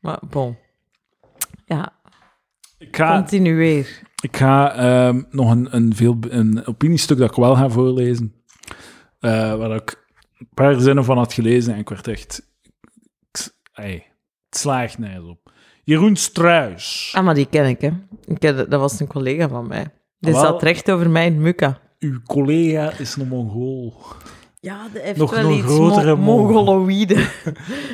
A: Maar bon. Ja,
B: Ik ga,
A: continueer.
B: Ik ga ehm, nog een, een, veel, een opiniestuk dat ik wel ga voorlezen. Eh, waar ik een paar zinnen van had gelezen en ik werd echt... Ik, ey, het slaagt nergens op. Jeroen Struis.
A: Ah, maar die ken ik, hè. Ik ken, dat was een collega van mij. Die
B: Ah, Wel-
A: zat recht over mij in Mukka.
B: Uw collega is een Mongool.
A: Ja, die heeft
B: Nog-
A: wel
B: nog
A: iets
B: grotere
A: mo-
B: mond. *laughs*
A: mongoloïde.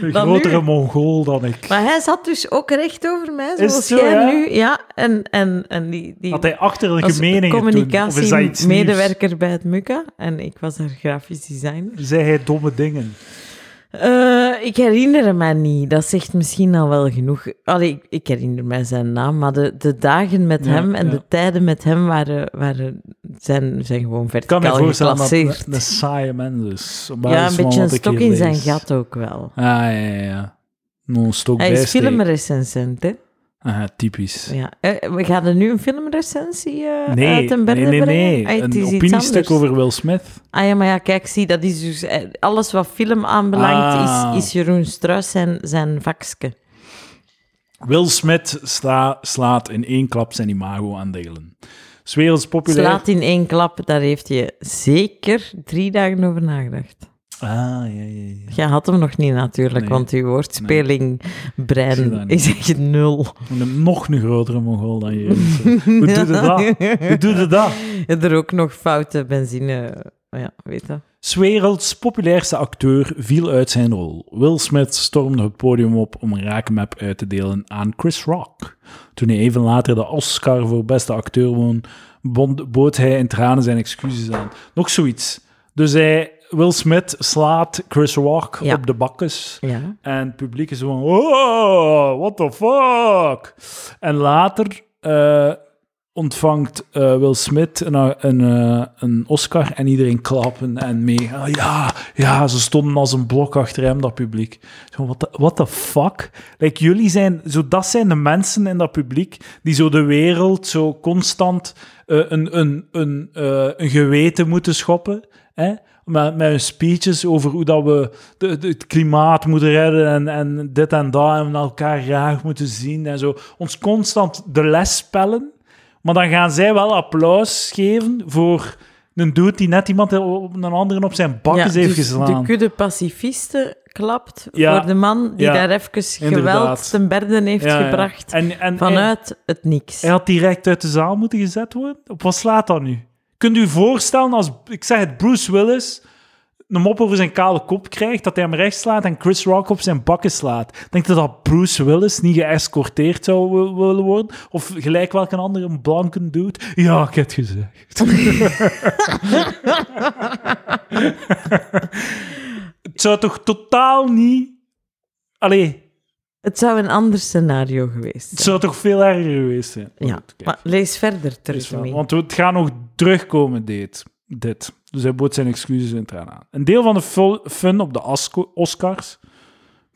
B: Een
A: Dan
B: grotere
A: nu?
B: Mongool dan ik.
A: Maar hij zat dus ook recht over mij,
B: het
A: zoals
B: zo,
A: jij
B: ja?
A: nu. Ja, en, en, en die, die
B: Had hij achterlijke
A: was
B: meningen toen? Of is dat iets nieuws?
A: communicatiemedewerker bij het Mukka. En ik was haar grafisch designer.
B: Zei hij domme dingen?
A: Eh, ik herinner me niet. Dat zegt misschien al wel genoeg. Allee, ik, ik herinner mij zijn naam, maar de, de dagen met
B: Ja,
A: hem en
B: ja.
A: de tijden met hem waren, waren, zijn, zijn gewoon
B: Ik kan me
A: verticaal
B: voorstellen dat
A: geclasseerd.
B: het een saaie mens is. Op
A: ja,
B: basis
A: een
B: van
A: beetje een
B: wat ik hier
A: stok in zijn
B: lees.
A: gat ook wel.
B: Ah, ja, ja, ja. Nog een stok
A: Hij is
B: bijsteken.
A: filmrecensent, hè?
B: Ah, typisch.
A: Ja. Eh, we gaan er nu een filmrecensie eh
B: Nee,
A: uit een bende
B: nee, nee, nee.
A: brengen? Ah, het is
B: een
A: iets
B: opiniestuk
A: anders.
B: over Will Smith.
A: Ah ja, maar ja, kijk, zie, dat is dus... eh, Alles wat film aanbelangt,
B: Ah.
A: is, is Jeroen Struis zijn, zijn vakske.
B: Will Smith sla- slaat in één klap zijn imago aan delen. Is werelds populair.
A: Slaat in één klap, daar heeft je zeker drie dagen over nagedacht.
B: Ah, ja, ja, ja.
A: Jij had hem nog niet natuurlijk,
B: Nee.
A: want uw woordspeling,
B: Ik zie
A: brein,
B: dat niet.
A: is echt nul.
B: Moet hem nog een grotere mongool dan je. Hoe doet het dat? Hoe doet het dat?
A: Ja, er ook nog foute benzine... Ja, weet dat.
B: S werelds populairste acteur viel uit zijn rol. Will Smith stormde het podium op om een raakmap uit te delen aan Chris Rock. Toen hij even later de Oscar voor beste acteur won, bond- bood hij in tranen zijn excuses aan. Nog zoiets. Dus hij, Will Smith slaat Chris Rock
A: Ja.
B: op de bakkes.
A: Ja.
B: En het publiek is van, oh, what the fuck? En later eh, ontvangt eh, Will Smith een, een, eh, een Oscar en iedereen klappen en mee. Ah, ja, ja, ze stonden als een blok achter hem, dat publiek. Zo, what, the, what the fuck? Like, jullie zijn, zo, dat zijn de mensen in dat publiek die zo de wereld zo constant eh, een, een, een, eh, een geweten moeten schoppen. Hè? Met, met hun speeches over hoe dat we de, de- het klimaat moeten redden en, en dit en dat en elkaar graag moeten zien en zo. Ons constant de les spellen. Maar dan gaan zij wel applaus geven voor een dude die net iemand op een andere op zijn bakjes
A: Ja,
B: heeft
A: dus
B: geslaan.
A: De kudde pacifisten klapt
B: Ja.
A: voor de man die
B: Ja.
A: daar even geweld
B: Inderdaad.
A: ten berde heeft
B: Ja, ja.
A: gebracht
B: En, en, en
A: vanuit het niks.
B: hij had direct uit de zaal moeten gezet worden. Op wat slaat dat nu? Kunt u u voorstellen als, ik zeg het, Bruce Willis een mop over zijn kale kop krijgt, dat hij hem rechts slaat en Chris Rock op zijn bakken slaat. Denkt u dat Bruce Willis niet geëscorteerd zou wi- willen worden? Of gelijk welke andere blanken dude? Ja, ik heb het
A: *laughs*
B: gezegd. het zou toch totaal niet... Allee,
A: Het zou een ander scenario geweest
B: het
A: zijn.
B: zou toch veel erger geweest zijn? Maar
A: ja,
B: goed, kijk.
A: maar lees verder
B: Is
A: terug
B: wel,
A: mee.
B: Want het gaat nog terugkomen, dit. dit. Dus hij bood zijn excuses in tranen aan. Een deel van de ful- fun op de Asco- Oscars Ik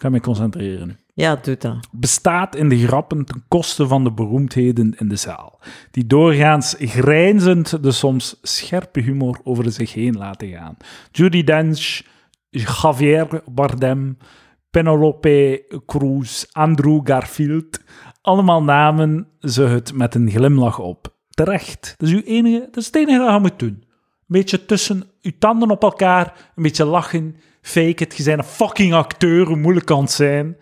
B: ga me concentreren nu.
A: Ja, doe dat.
B: Bestaat in de grappen ten koste van de beroemdheden in de zaal, die doorgaans grijnzend de soms scherpe humor over zich heen laten gaan. Judy Dench, Javier Bardem, Penelope Cruz, Andrew Garfield, allemaal namen ze het met een glimlach op. Terecht, dat is, uw enige, dat is het enige dat je moet doen. Een beetje tussen uw tanden op elkaar, een beetje lachen, fake het, je bent een fucking acteur, hoe moeilijk kan het zijn.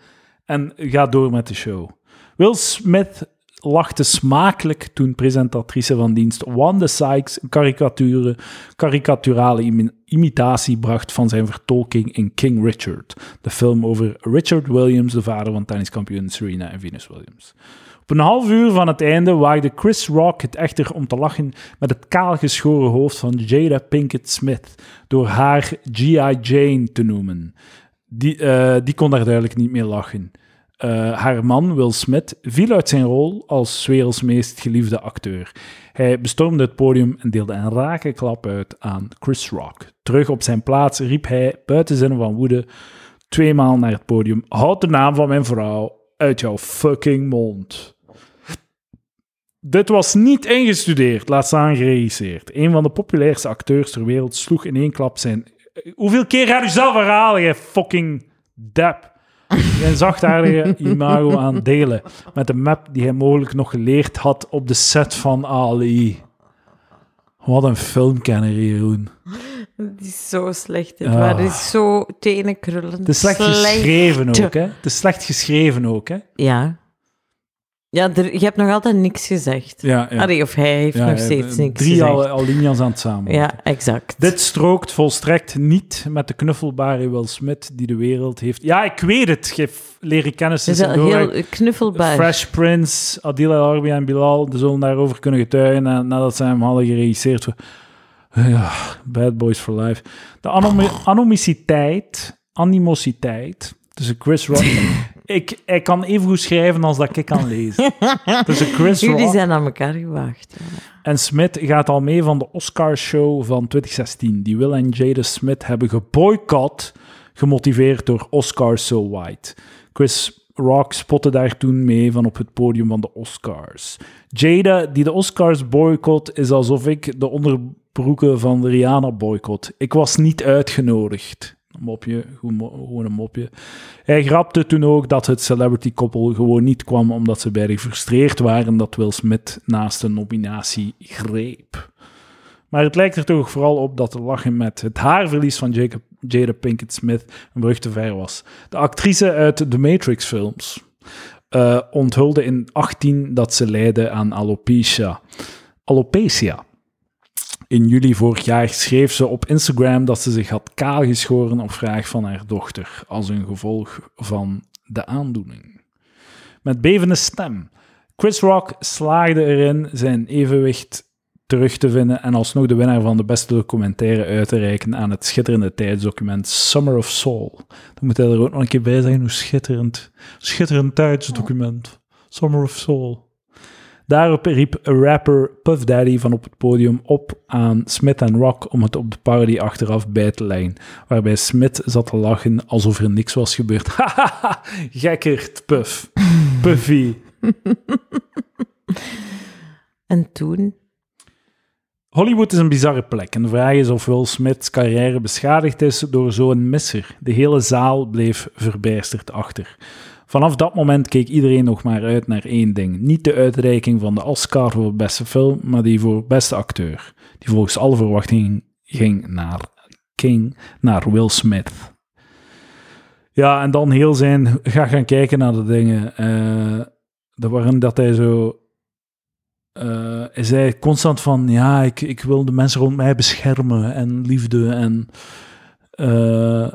B: En ga door met de show. Will Smith lachte smakelijk toen presentatrice van dienst Wanda Sykes een karikature, karikaturale imi- imitatie bracht van zijn vertolking in King Richard, de film over Richard Williams, de vader van tenniskampioen Serena en Venus Williams. Op een half uur van het einde waagde Chris Rock het echter om te lachen met het kaalgeschoren hoofd van Jada Pinkett Smith, door haar G.I. Jane te noemen. Die, eh, die kon daar duidelijk niet meer lachen. Eh, haar man, Will Smith, viel uit zijn rol als 's werelds meest geliefde acteur. Hij bestormde het podium en deelde een rake klap uit aan Chris Rock. Terug op zijn plaats riep hij, buiten zinnen van woede, tweemaal naar het podium: Houd de naam van mijn vrouw uit jouw fucking mond. Dit was niet ingestudeerd, laat staan geregisseerd. Een van de populairste acteurs ter wereld sloeg in één klap zijn... Hoeveel keer gaat u zelf herhalen, jij fucking dep? Zijn zachtaardige imago aan delen met de map die hij mogelijk nog geleerd had op de set van Ali. Wat een filmkenner, Jeroen.
A: Het is zo slecht. Dit.
B: Ah.
A: Maar het is zo tenenkrullend.
B: Het is slecht geschreven ook, hè? Het is slecht geschreven ook, hè?
A: Ja. Ja, er- je hebt nog altijd niks gezegd.
B: Ja, eh,
A: Allee, of hij heeft nog steeds niks
B: Drie
A: gezegd.
B: al- alinea's aan het samen.
A: Ja, exact.
B: Dit strookt volstrekt niet met de knuffelbare Will Smith die de wereld heeft. Ja, ik weet het. Geef leren kennis.
A: is
B: tussen
A: wel
B: door.
A: Dus, eh, heel knuffelbaar.
B: Fresh Prince, Adil El Arbi en Bilal die zullen daarover kunnen getuigen na- nadat zij hem hadden geregisseerd. Ja, Bad Boys for Life. De anom- anomiciteit, animositeit tussen Chris Rock... ik, ik kan evengoed schrijven als dat ik kan lezen. Tussen Chris
A: Jullie
B: Rock
A: zijn aan elkaar gewaagd. ja.
B: en Smith gaat al mee van de Oscarshow van 2016. Die Will en Jada Smith hebben geboycott, gemotiveerd door Oscar So White. Chris Rock spotte daar toen mee van op het podium van de Oscars. Jada, die de Oscars boycott, is alsof ik de onderbroeken van Rihanna boycott. Ik was niet uitgenodigd. Mopje, goed mo- gewoon een mopje. Hij grapte toen ook dat het celebrity-koppel gewoon niet kwam omdat ze beide gefrustreerd waren dat Will Smith naast een nominatie greep. Maar het lijkt er toch vooral op dat de lachen met het haarverlies van Jacob, Jada Pinkett Smith een brug te ver was. De actrice uit de Matrix-films eh, onthulde in 18 dat ze leidde aan alopecia. Alopecia. In juli vorig jaar schreef ze op Instagram dat ze zich had kaalgeschoren op vraag van haar dochter als een gevolg van de aandoening. Met bevende stem. Chris Rock slaagde erin zijn evenwicht terug te vinden en alsnog de winnaar van de beste documentaire uit te reiken aan het schitterende tijdsdocument Summer of Soul. Dan moet hij er ook nog een keer bij zeggen hoe schitterend. Schitterend tijdsdocument. Summer of Soul. Daarop riep rapper Puff Daddy van op het podium op aan Smith en Rock om het op de parody achteraf bij te leggen. Waarbij Smith zat te lachen alsof er niks was gebeurd. *laughs* Hahaha, gekkerd, Puff. Puffy.
A: En toen?
B: Hollywood is een bizarre plek en de vraag is of Will Smith's carrière beschadigd is door zo'n misser. De hele zaal bleef verbijsterd achter. Vanaf dat moment keek iedereen nog maar uit naar één ding. Niet de uitreiking van de Oscar voor beste film, maar die voor beste acteur. Die volgens alle verwachtingen ging naar King, naar Will Smith. Ja, en dan heel zijn, ga gaan kijken naar de dingen. eh dat waarin dat hij zo eh, hij zei constant van, ja, ik, ik wil de mensen rond mij beschermen en liefde. En eh,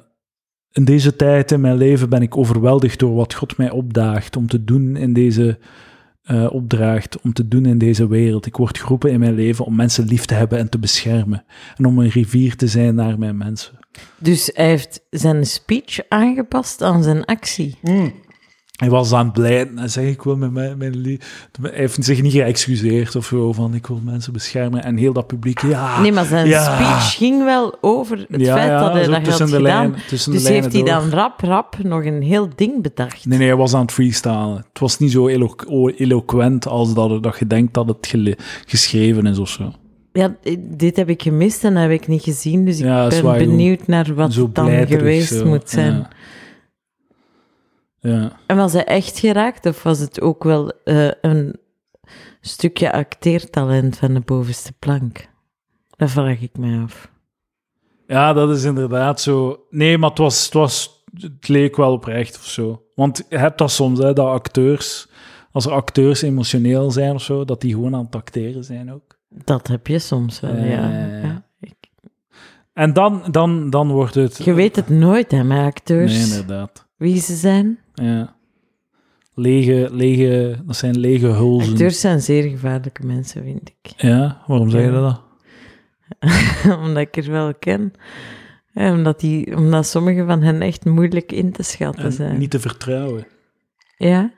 B: in deze tijd in mijn leven ben ik overweldigd door wat God mij opdaagt om te doen in deze eh, opdraagt, om te doen in deze wereld. Ik word geroepen in mijn leven om mensen lief te hebben en te beschermen. En om een rivier te zijn naar mijn mensen.
A: Dus hij heeft zijn speech aangepast aan zijn actie.
B: Hij was aan het blijden en zei, ik wil met mijn, mijn lief... Hij heeft zich niet geëxcuseerd of zo, van ik wil mensen beschermen. En heel dat publiek, ja...
A: Nee, maar zijn
B: Ah, ja.
A: speech ging wel over het
B: ja,
A: feit
B: ja,
A: dat hij
B: zo
A: dat had
B: tussen de
A: gedaan.
B: lijnen- tussen
A: Dus
B: de lijnen
A: heeft hij
B: door.
A: dan rap, rap nog een heel ding bedacht.
B: Nee, nee, hij was aan het freestylen. Het was niet zo elo- o- eloquent als dat, dat je denkt dat het gele- geschreven is of zo.
A: Ja, eh, dit heb ik gemist en dat heb ik niet gezien, dus ik
B: Ja, dat is
A: ben
B: waar, joh.
A: benieuwd naar wat
B: zo
A: het dan
B: blijterig
A: geweest
B: zo.
A: moet zijn.
B: Ja. Ja.
A: En was hij echt geraakt of was het ook wel eh, een stukje acteertalent van de bovenste plank? Dat vraag ik mij af.
B: Ja, dat is inderdaad zo. Nee, maar het, was, het, was, het leek wel oprecht of zo. Want je hebt dat soms, hè, dat acteurs, als er acteurs emotioneel zijn of zo, dat die gewoon aan het acteren zijn ook.
A: Dat heb je soms wel,
B: Ja,
A: ja.
B: ja, ja.
A: ja. Ik-
B: En dan, dan, dan wordt het.
A: Je weet dus. het nooit, hè, met acteurs.
B: Nee, inderdaad.
A: Wie ze zijn.
B: Ja. Lege, lege, dat zijn lege hulzen.
A: Acteurs zijn zeer gevaarlijke mensen, vind ik. *laughs*
B: Ja, waarom zeg je dat?
A: omdat ik er wel ken. Ja, omdat, die, omdat sommige van hen echt moeilijk in te schatten
B: En
A: zijn.
B: niet te vertrouwen.
A: Ja,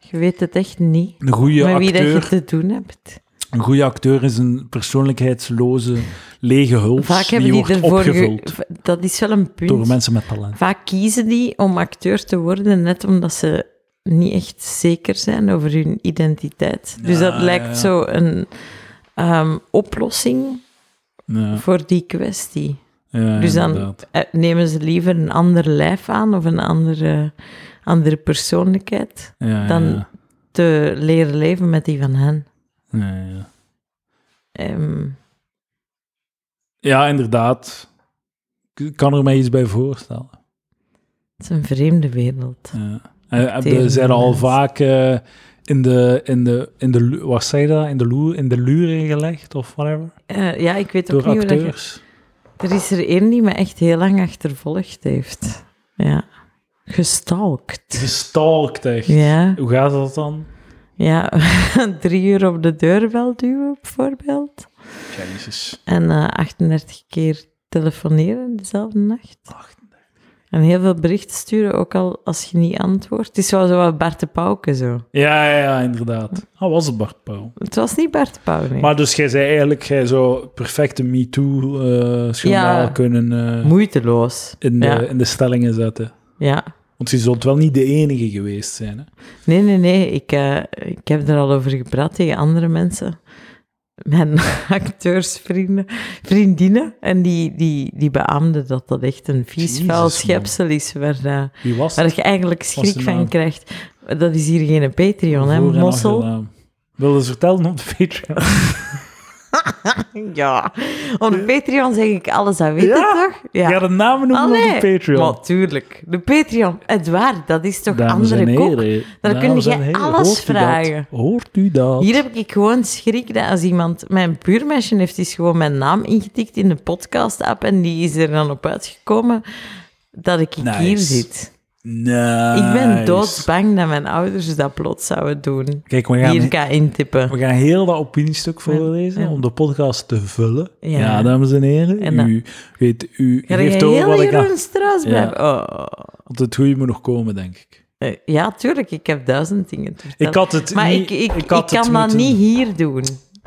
A: je weet het echt niet.
B: Een goede
A: met wie dat
B: acteur,
A: je te doen hebt.
B: een goede acteur is een persoonlijkheidsloze, lege huls
A: Vaak
B: die,
A: hebben die,
B: wordt
A: ervoor... ge-
B: opgevuld
A: v- Dat is wel een punt.
B: door mensen met talent.
A: Vaak kiezen die om acteur te worden, net omdat ze niet echt zeker zijn over hun identiteit. dus
B: Ja,
A: dat lijkt
B: ja, ja.
A: zo een ehm, oplossing
B: Ja,
A: voor die kwestie.
B: ja,
A: dus dan-
B: inderdaad.
A: Eh, Nemen ze liever een ander lijf aan of een andere, andere persoonlijkheid
B: Ja, ja,
A: dan-
B: ja.
A: te leren leven met die van hen?
B: Ja, ja.
A: Ehm,
B: Ja, inderdaad. Ik kan er mij iets bij voorstellen.
A: het is een vreemde wereld.
B: Ja. Eh, Heb
A: Tegen
B: je zijn al
A: mensen.
B: vaak eh, in de, in de, in de, lu- wat zei je dat? In de, loer, in de luren gelegd of whatever?
A: Eh, ja, ik weet ook
B: Door
A: niet hoe dat je-
B: acteurs?
A: Er is er één die me echt heel lang achtervolgd heeft. Ja. Gestalkt.
B: Gestalkt echt.
A: Ja.
B: Hoe gaat dat dan?
A: Ja, *laughs* drie uur op de deurbel duwen bijvoorbeeld.
B: Jezus.
A: En eh, 38 keer telefoneren dezelfde nacht. En heel veel berichten sturen, ook al als je niet antwoordt. Het is wel zo wat Bart de Pauwke zo.
B: Ja, ja, ja, inderdaad. Dat was het Bart Pauw.
A: Het was niet Bart de Pauw, nee.
B: Maar dus jij zei eigenlijk, jij zou perfecte MeToo-schandaal
A: Ja.
B: kunnen eh,
A: Moeiteloos.
B: in, eh, de,
A: ja.
B: in de stellingen zetten.
A: ja.
B: Want je zult wel niet de enige geweest zijn. Hè?
A: Nee, nee, nee. Ik, eh, ik heb er al over gepraat tegen andere mensen. Mijn *laughs* acteursvrienden, vriendinnen. En die, die, die beaamden dat dat echt een vies
B: Jezus,
A: vuil
B: man.
A: schepsel is. Waar, eh,
B: Wie was
A: waar je eigenlijk schrik
B: de
A: van
B: naam?
A: krijgt. Dat is hier geen Patreon, hè,
B: Voor- en
A: mossel.
B: achternaam. Wil je eens vertellen op de Patreon?
A: Ja. Op Patreon zeg ik alles aan weten,
B: eh, Ja?
A: toch?
B: *laughs* Ga de namen noemen
A: Allee.
B: op de Patreon.
A: Natuurlijk. De Patreon. Het waar, dat is toch
B: Dames en
A: andere kok?
B: heren.
A: Daar
B: dames
A: kun je
B: en heren,
A: alles
B: hoort u dat?
A: vragen.
B: Hoort u dat?
A: Hier heb ik gewoon schrik dat als iemand... Mijn buurmeisje heeft dus gewoon mijn naam ingetikt in de podcast-app en die is er dan op uitgekomen dat ik
B: Nice.
A: hier zit.
B: Nice.
A: Ik ben doodsbang dat mijn ouders dat plots zouden doen.
B: Kijk, we
A: Hier
B: gaan,
A: ga intippen.
B: we gaan heel dat opiniestuk voorlezen
A: Ja.
B: om de podcast te vullen.
A: Ja.
B: Ja, dames en heren.
A: En dan-
B: u weet, u
A: Ga je
B: geeft over
A: heel
B: wat ik aan.
A: Jeroen Straus
B: Ja.
A: blijven? Oh.
B: Want het goede moet nog komen, denk ik.
A: Eh, Ja, tuurlijk. Ik heb duizend dingen te vertellen.
B: Ik had het
A: maar ik,
B: niet...
A: ik, ik,
B: had het
A: kan dat
B: moeten-
A: niet hier doen.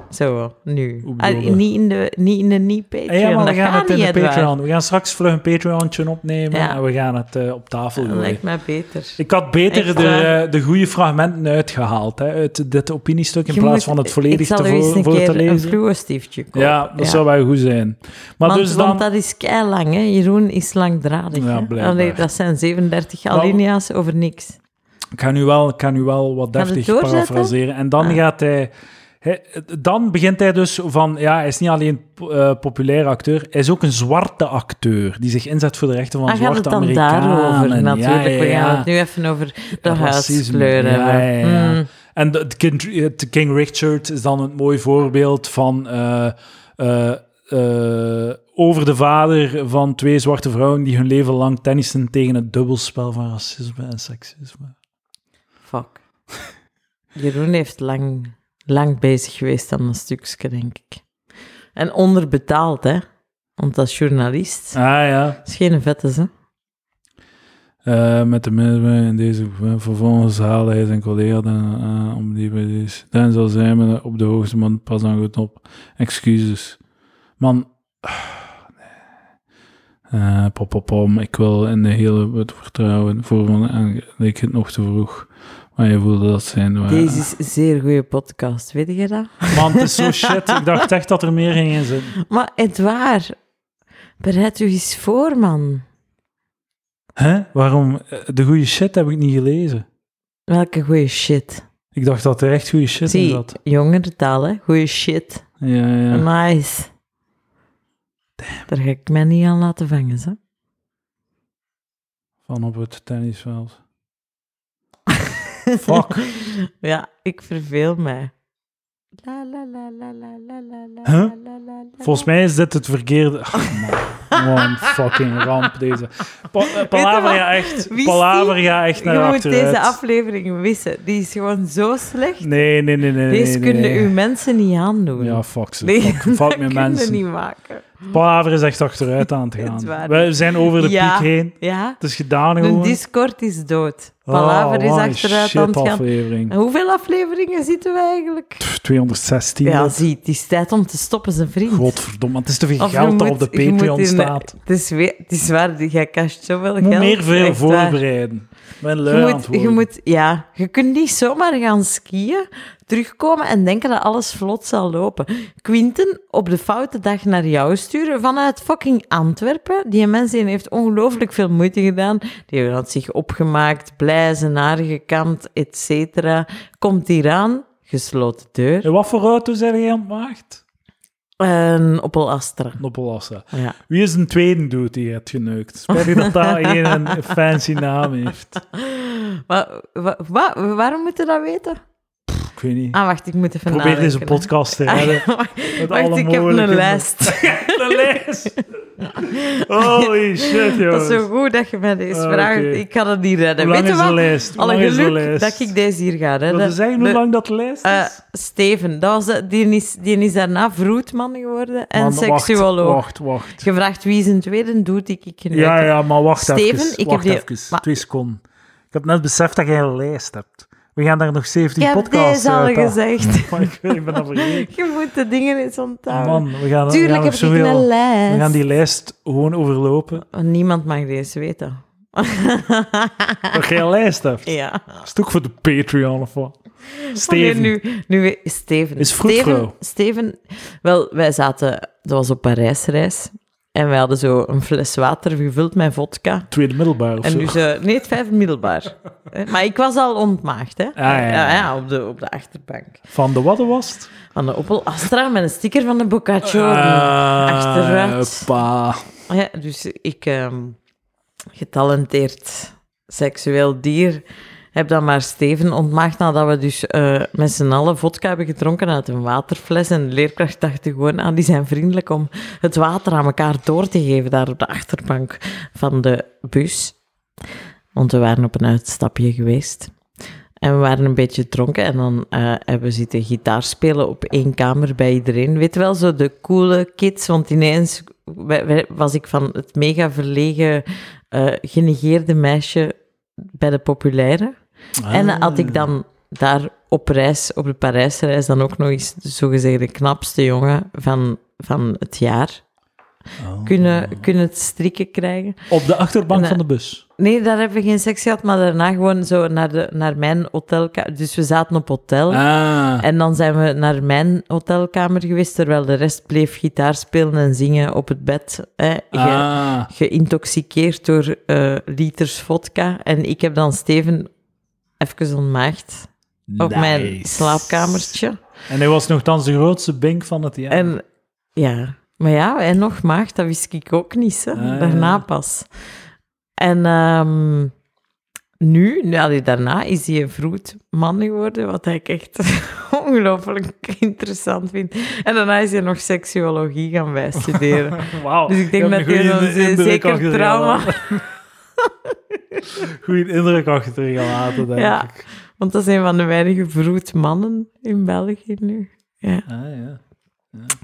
A: Zo, nu.
B: Hoe
A: Ah,
B: bedoel je?
A: niet in de, niet in de niet-Patreon.
B: Ja, maar we
A: dat
B: gaan
A: gaat
B: het in
A: niet,
B: de
A: Edouard.
B: Patreon. We gaan straks vlug een Patreontje opnemen
A: Ja.
B: en we gaan het eh, op tafel
A: Dat
B: gooien.
A: lijkt mij beter.
B: Ik had beter
A: Echt
B: de,
A: waar.
B: eh, de goede fragmenten uitgehaald hè, uit dit opiniestuk in
A: Je
B: plaats
A: moet-
B: van het volledig te
A: Ik zal er
B: voor,
A: eens
B: voor
A: een
B: te
A: keer een
B: lezen.
A: fluo-stiftje kopen.
B: ja, dat zou wel goed zijn. Maar
A: want,
B: dus dan.
A: want dat is kei lang, hè. Jeroen is langdradig.
B: Ja,
A: hè.
B: blijkbaar.
A: Allee, dat zijn 37
B: Nou,
A: alinea's over niks.
B: Ik kan u wel, ik kan u wel wat
A: Gaan we het
B: deftig
A: doorzetten?
B: parafraseren. En dan
A: Ah.
B: gaat hij. hij- Dan begint hij dus van, ja, hij is niet alleen eh populaire acteur, hij is ook een zwarte acteur die zich inzet voor de rechten van
A: Dan Ah, gaat het
B: zwarte
A: dan
B: Amerikanen.
A: daarover
B: Ja,
A: natuurlijk.
B: ja,
A: We gaan
B: ja.
A: het nu even over de
B: Racisme,
A: huidskleur
B: ja,
A: hebben.
B: ja, ja.
A: Mm.
B: En de- het King, het King Richard is dan een mooi voorbeeld van eh, eh, eh, over de vader van twee zwarte vrouwen die hun leven lang tennissen tegen het dubbelspel van racisme en seksisme.
A: Fuck. *laughs* Jeroen heeft lang, lang bezig geweest aan dat stukje, denk ik. En onderbetaald, hè. Want als journalist.
B: Ah ja.
A: Dat is geen vette, hè.
B: Eh, met de middelen in deze eh, vervolgens haalde hij zijn collega dan aan om die bij deze. Dan zal zijn we op de hoogste man pas dan goed op. Excuses. Man. ah, nee. Eh, pop, pop, pom. Ik wil in de hele het vertrouwen voor van en leek het nog te vroeg. Maar je voelde dat zijn. waren.
A: Deze is een zeer goede podcast, weet je dat?
B: Man, het is zo shit. Ik dacht echt dat er meer ging in zitten.
A: Maar Edouard, bereid u eens voor, man.
B: Hè? Waarom? Eh, De goede shit heb ik niet gelezen.
A: Welke goede shit.
B: Ik dacht dat er echt goede shit in
A: Zie,
B: zat.
A: jongere talen, goede shit.
B: Ja, ja.
A: Nice. Daar ga ik mij niet aan laten vangen, zo.
B: Van op het tennisveld. Fuck.
A: *laughs* Ja, ik verveel mij. La, la, la, la, la, la, la, la,
B: Huh?
A: la, la, la, la.
B: Volgens mij is dit het verkeerde... Ach, man. Wat een fucking ramp, deze. Pa eh, palaver
A: Weet je
B: gaat echt,
A: Wie
B: palaver
A: is
B: gaat echt
A: Je
B: naar
A: moet deze
B: achteruit.
A: aflevering wissen. Die is gewoon zo slecht.
B: Nee, nee, nee, nee.
A: deze
B: nee,
A: kunnen
B: nee.
A: uw mensen niet aandoen.
B: Ja, fuck
A: *laughs*
B: ze.
A: Nee,
B: fuck fuck
A: dat
B: mijn
A: kunnen
B: mensen.
A: niet maken.
B: Palaver is echt achteruit aan het
A: *laughs* Het is waar.
B: gaan. We zijn over de
A: Ja.
B: piek heen.
A: Ja?
B: Het is gedaan
A: De
B: gewoon.
A: Discord is dood. Palaver
B: Oh, wat een
A: is achteruit aan het gaan.
B: shit-aflevering.
A: En Hoeveel afleveringen zitten we eigenlijk?
B: Pff, 216.
A: Ja,
B: dat-
A: zie, het is tijd om te stoppen, zijn vriend.
B: Godverdomme, want het is te veel
A: Of je
B: geld dat
A: moet-
B: op de
A: je moet
B: Patreon
A: in-
B: staat.
A: Het is, weer, het is waar, jij kast zoveel
B: Ik moet
A: geld.
B: meer veel
A: Echt waar.
B: voorbereiden. Ik ben lui
A: Je
B: aan het
A: moet, je
B: worden.
A: moet, ja, je kunt niet zomaar gaan skiën, terugkomen en denken dat alles vlot zal lopen. Quinten op de foute dag naar jou sturen vanuit fucking Antwerpen. Die mensen heeft ongelooflijk veel moeite gedaan. Die had zich opgemaakt, blij, zijn haar gekamd, et cetera. Komt hier aan, gesloten deur.
B: En wat voor auto zijn jij aan het maakt?
A: Een Opel Astra.
B: Noppelassa.
A: Ja.
B: Wie is een tweede dude die je hebt geneukt? Spijtig
A: *laughs*
B: dat dat geen een fancy naam heeft.
A: Wa- wa- wa- waarom moet je dat weten?
B: Ik weet niet.
A: Ah, wacht, ik moet even
B: Probeer deze
A: nadenken, hè.
B: podcast te redden. Met
A: *laughs* Wacht,
B: alle
A: ik heb een
B: mogelijke-
A: lijst.
B: De lijst.
A: *laughs*
B: Holy shit,
A: Dat
B: jongens.
A: is zo goed dat je mij deze
B: Ah,
A: vraagt.
B: oké.
A: Ik kan het niet redden.
B: Hoe lang
A: Weet je
B: is de
A: wat?
B: lijst? Hoe lang
A: Alle
B: is de
A: geluk
B: lijst?
A: dat ik deze hier ga redden.
B: Wil je zeggen hoe
A: De-
B: lang dat de lijst is?
A: eh, Steven, dat was de- die, is, die is daarna vroedman geworden en
B: Man,
A: seksuoloog.
B: Wacht, wacht, wacht.
A: Gevraagd wie zijn tweede doet, ik ik geneukt
B: Ja,
A: heb.
B: ja, maar wacht
A: Steven,
B: even.
A: ik heb
B: wacht
A: die-
B: even.
A: maar-
B: Twee seconden. Ik heb net beseft dat jij een lijst hebt. We gaan daar nog 17
A: Ik heb
B: podcasts
A: deze al
B: uit halen.
A: gezegd. *laughs*
B: Maar ik, ik ben dat vergeten.
A: Je moet de dingen eens onthouden.
B: Man, we gaan, we gaan
A: Tuurlijk
B: nog
A: heb ik een
B: zoveel... We gaan
A: lijst.
B: die lijst gewoon overlopen.
A: Oh, Niemand mag deze weten. ah.
B: Dat jij een lijst hebt.
A: ja.
B: Dat is toch voor de Patreon of wat?
A: Steven.
B: Steven.
A: Nu, nu, we- Steven.
B: Is
A: Steven,
B: vroedvrouw.
A: Steven, wel, wij zaten, dat was op Parijsreis, en wij hadden zo een fles water gevuld met vodka.
B: Tweede middelbaar of
A: En
B: zo.
A: nu ze, nee, het vijfde middelbaar. Hè, Maar ik was al ontmaagd, hè?
B: Ah, ja, ja.
A: op, de, op de achterbank.
B: Van de wat was het?
A: Van de Opel Astra met een sticker van de Boccaccio.
B: Ah.
A: achteruit.
B: Eh, pa.
A: Ja, dus ik, ehm, getalenteerd seksueel dier, heb dan maar Steven ontmaagd nadat we dus eh, met z'n allen vodka hebben gedronken uit een waterfles. En de leerkracht dacht gewoon aan, die zijn vriendelijk om het water aan elkaar door te geven daar op de achterbank van de bus. Want we waren op een uitstapje geweest. En we waren een beetje dronken en dan eh, hebben we zitten gitaar spelen op één kamer bij iedereen. Weet wel, zo de coole kids, want ineens we- we- was ik van het mega verlegen, eh, genegeerde meisje bij de populaire.
B: Ah.
A: En dan had ik dan daar op reis, op de Parijsreis, dan ook nog eens de zogezegde knapste jongen van, van het jaar
B: Oh.
A: kunnen, kunnen het strikken krijgen.
B: Op de achterbank
A: En, eh,
B: van de bus.
A: Nee, daar hebben we geen seks gehad, maar daarna gewoon zo naar, de, naar mijn hotelkamer. Dus we zaten op hotel.
B: Ah.
A: En dan zijn we naar mijn hotelkamer geweest, terwijl de rest bleef gitaar spelen en zingen op het bed. Hè. Ge- eh,
B: Ah.
A: Geïntoxiceerd door eh, liters vodka. En ik heb dan Steven even ontmaagd op mijn
B: Nice.
A: slaapkamertje.
B: En hij was nogthans de grootste bink van het jaar.
A: En ja, maar ja, en nog maagd, dat wist ik ook niet, hè.
B: Ah, ja.
A: daarna pas. En ehm, nu, nu allee, daarna is hij een vroed man geworden, wat ik echt *laughs* ongelooflijk interessant vind. En daarna is hij nog seksuologie gaan
B: *laughs*
A: bijstuderen.
B: Wauw.
A: Dus ik denk
B: je hebt
A: dat
B: een
A: hij
B: goede
A: dan
B: in- indruk
A: zeker trauma...
B: achtergelaten. *laughs* Goede indruk achtergelaten, denk
A: Ja.
B: ik.
A: Want dat zijn van de weinige vroed mannen in België nu. Ja.
B: Ah, ja.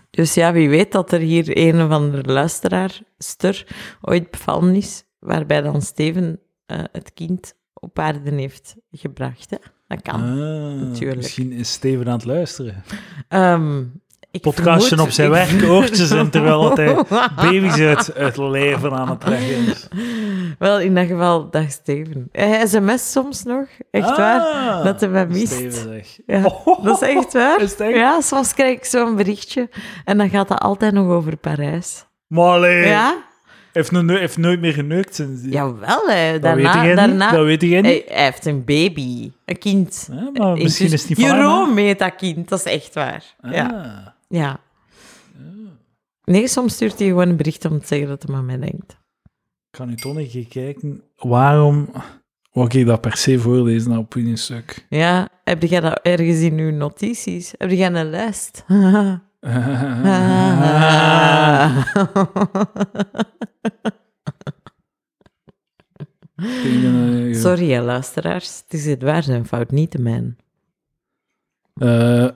A: Dus ja, wie weet dat er hier een of andere luisteraarster ooit bevallen is, waarbij dan Steven eh, eh, het kind op aarde heeft gebracht. Hè? Dat kan.
B: Ah,
A: natuurlijk.
B: Misschien is Steven aan het luisteren.
A: Ehm, ik
C: Ah. Podcastje
A: vermoed-
C: op zijn
A: ik-
C: werk, oortjes
A: *laughs*
C: in, terwijl dat hij baby's uit, uit leven aan het leggen is.
A: Wel, in dat geval, dag Steven. Eh, Hij sms soms nog, echt waar.
B: Ah,
A: dat hij mij mist.
B: Steven, zeg.
A: Ja,
C: Oh.
A: dat is echt waar.
B: Is het echt?
A: Ja, soms krijg ik zo'n berichtje. En dan gaat dat altijd nog over Parijs.
C: Maar allee,
A: Ja?
C: heeft, nu, heeft nooit meer geneukt sinds die-
A: Jawel, hè.
C: dat, weet
A: daarna...
C: jij
A: daarna
C: niet, dat weet jij niet.
A: hij, hij heeft een baby. Een kind.
B: Ja, maar misschien is het niet van hem, hè?
A: Jeroen heet dat kind, dat is echt waar. Ja.
B: Ah.
A: ja. Nee, soms stuurt hij gewoon een bericht om te zeggen dat hij aan mij denkt.
B: Ik ga nu toch een keer kijken. Waarom wou ik dat per se voorlezen
C: nou,
B: naar opiniestuk?
A: Ja, heb jij dat ergens in uw notities? Heb jij een
B: *laughs*
A: lijst?
C: eh,
B: Sorry.
A: *laughs* Sorry, hè, luisteraars. Het is het waar zijn fout, niet de mijn.
C: eh,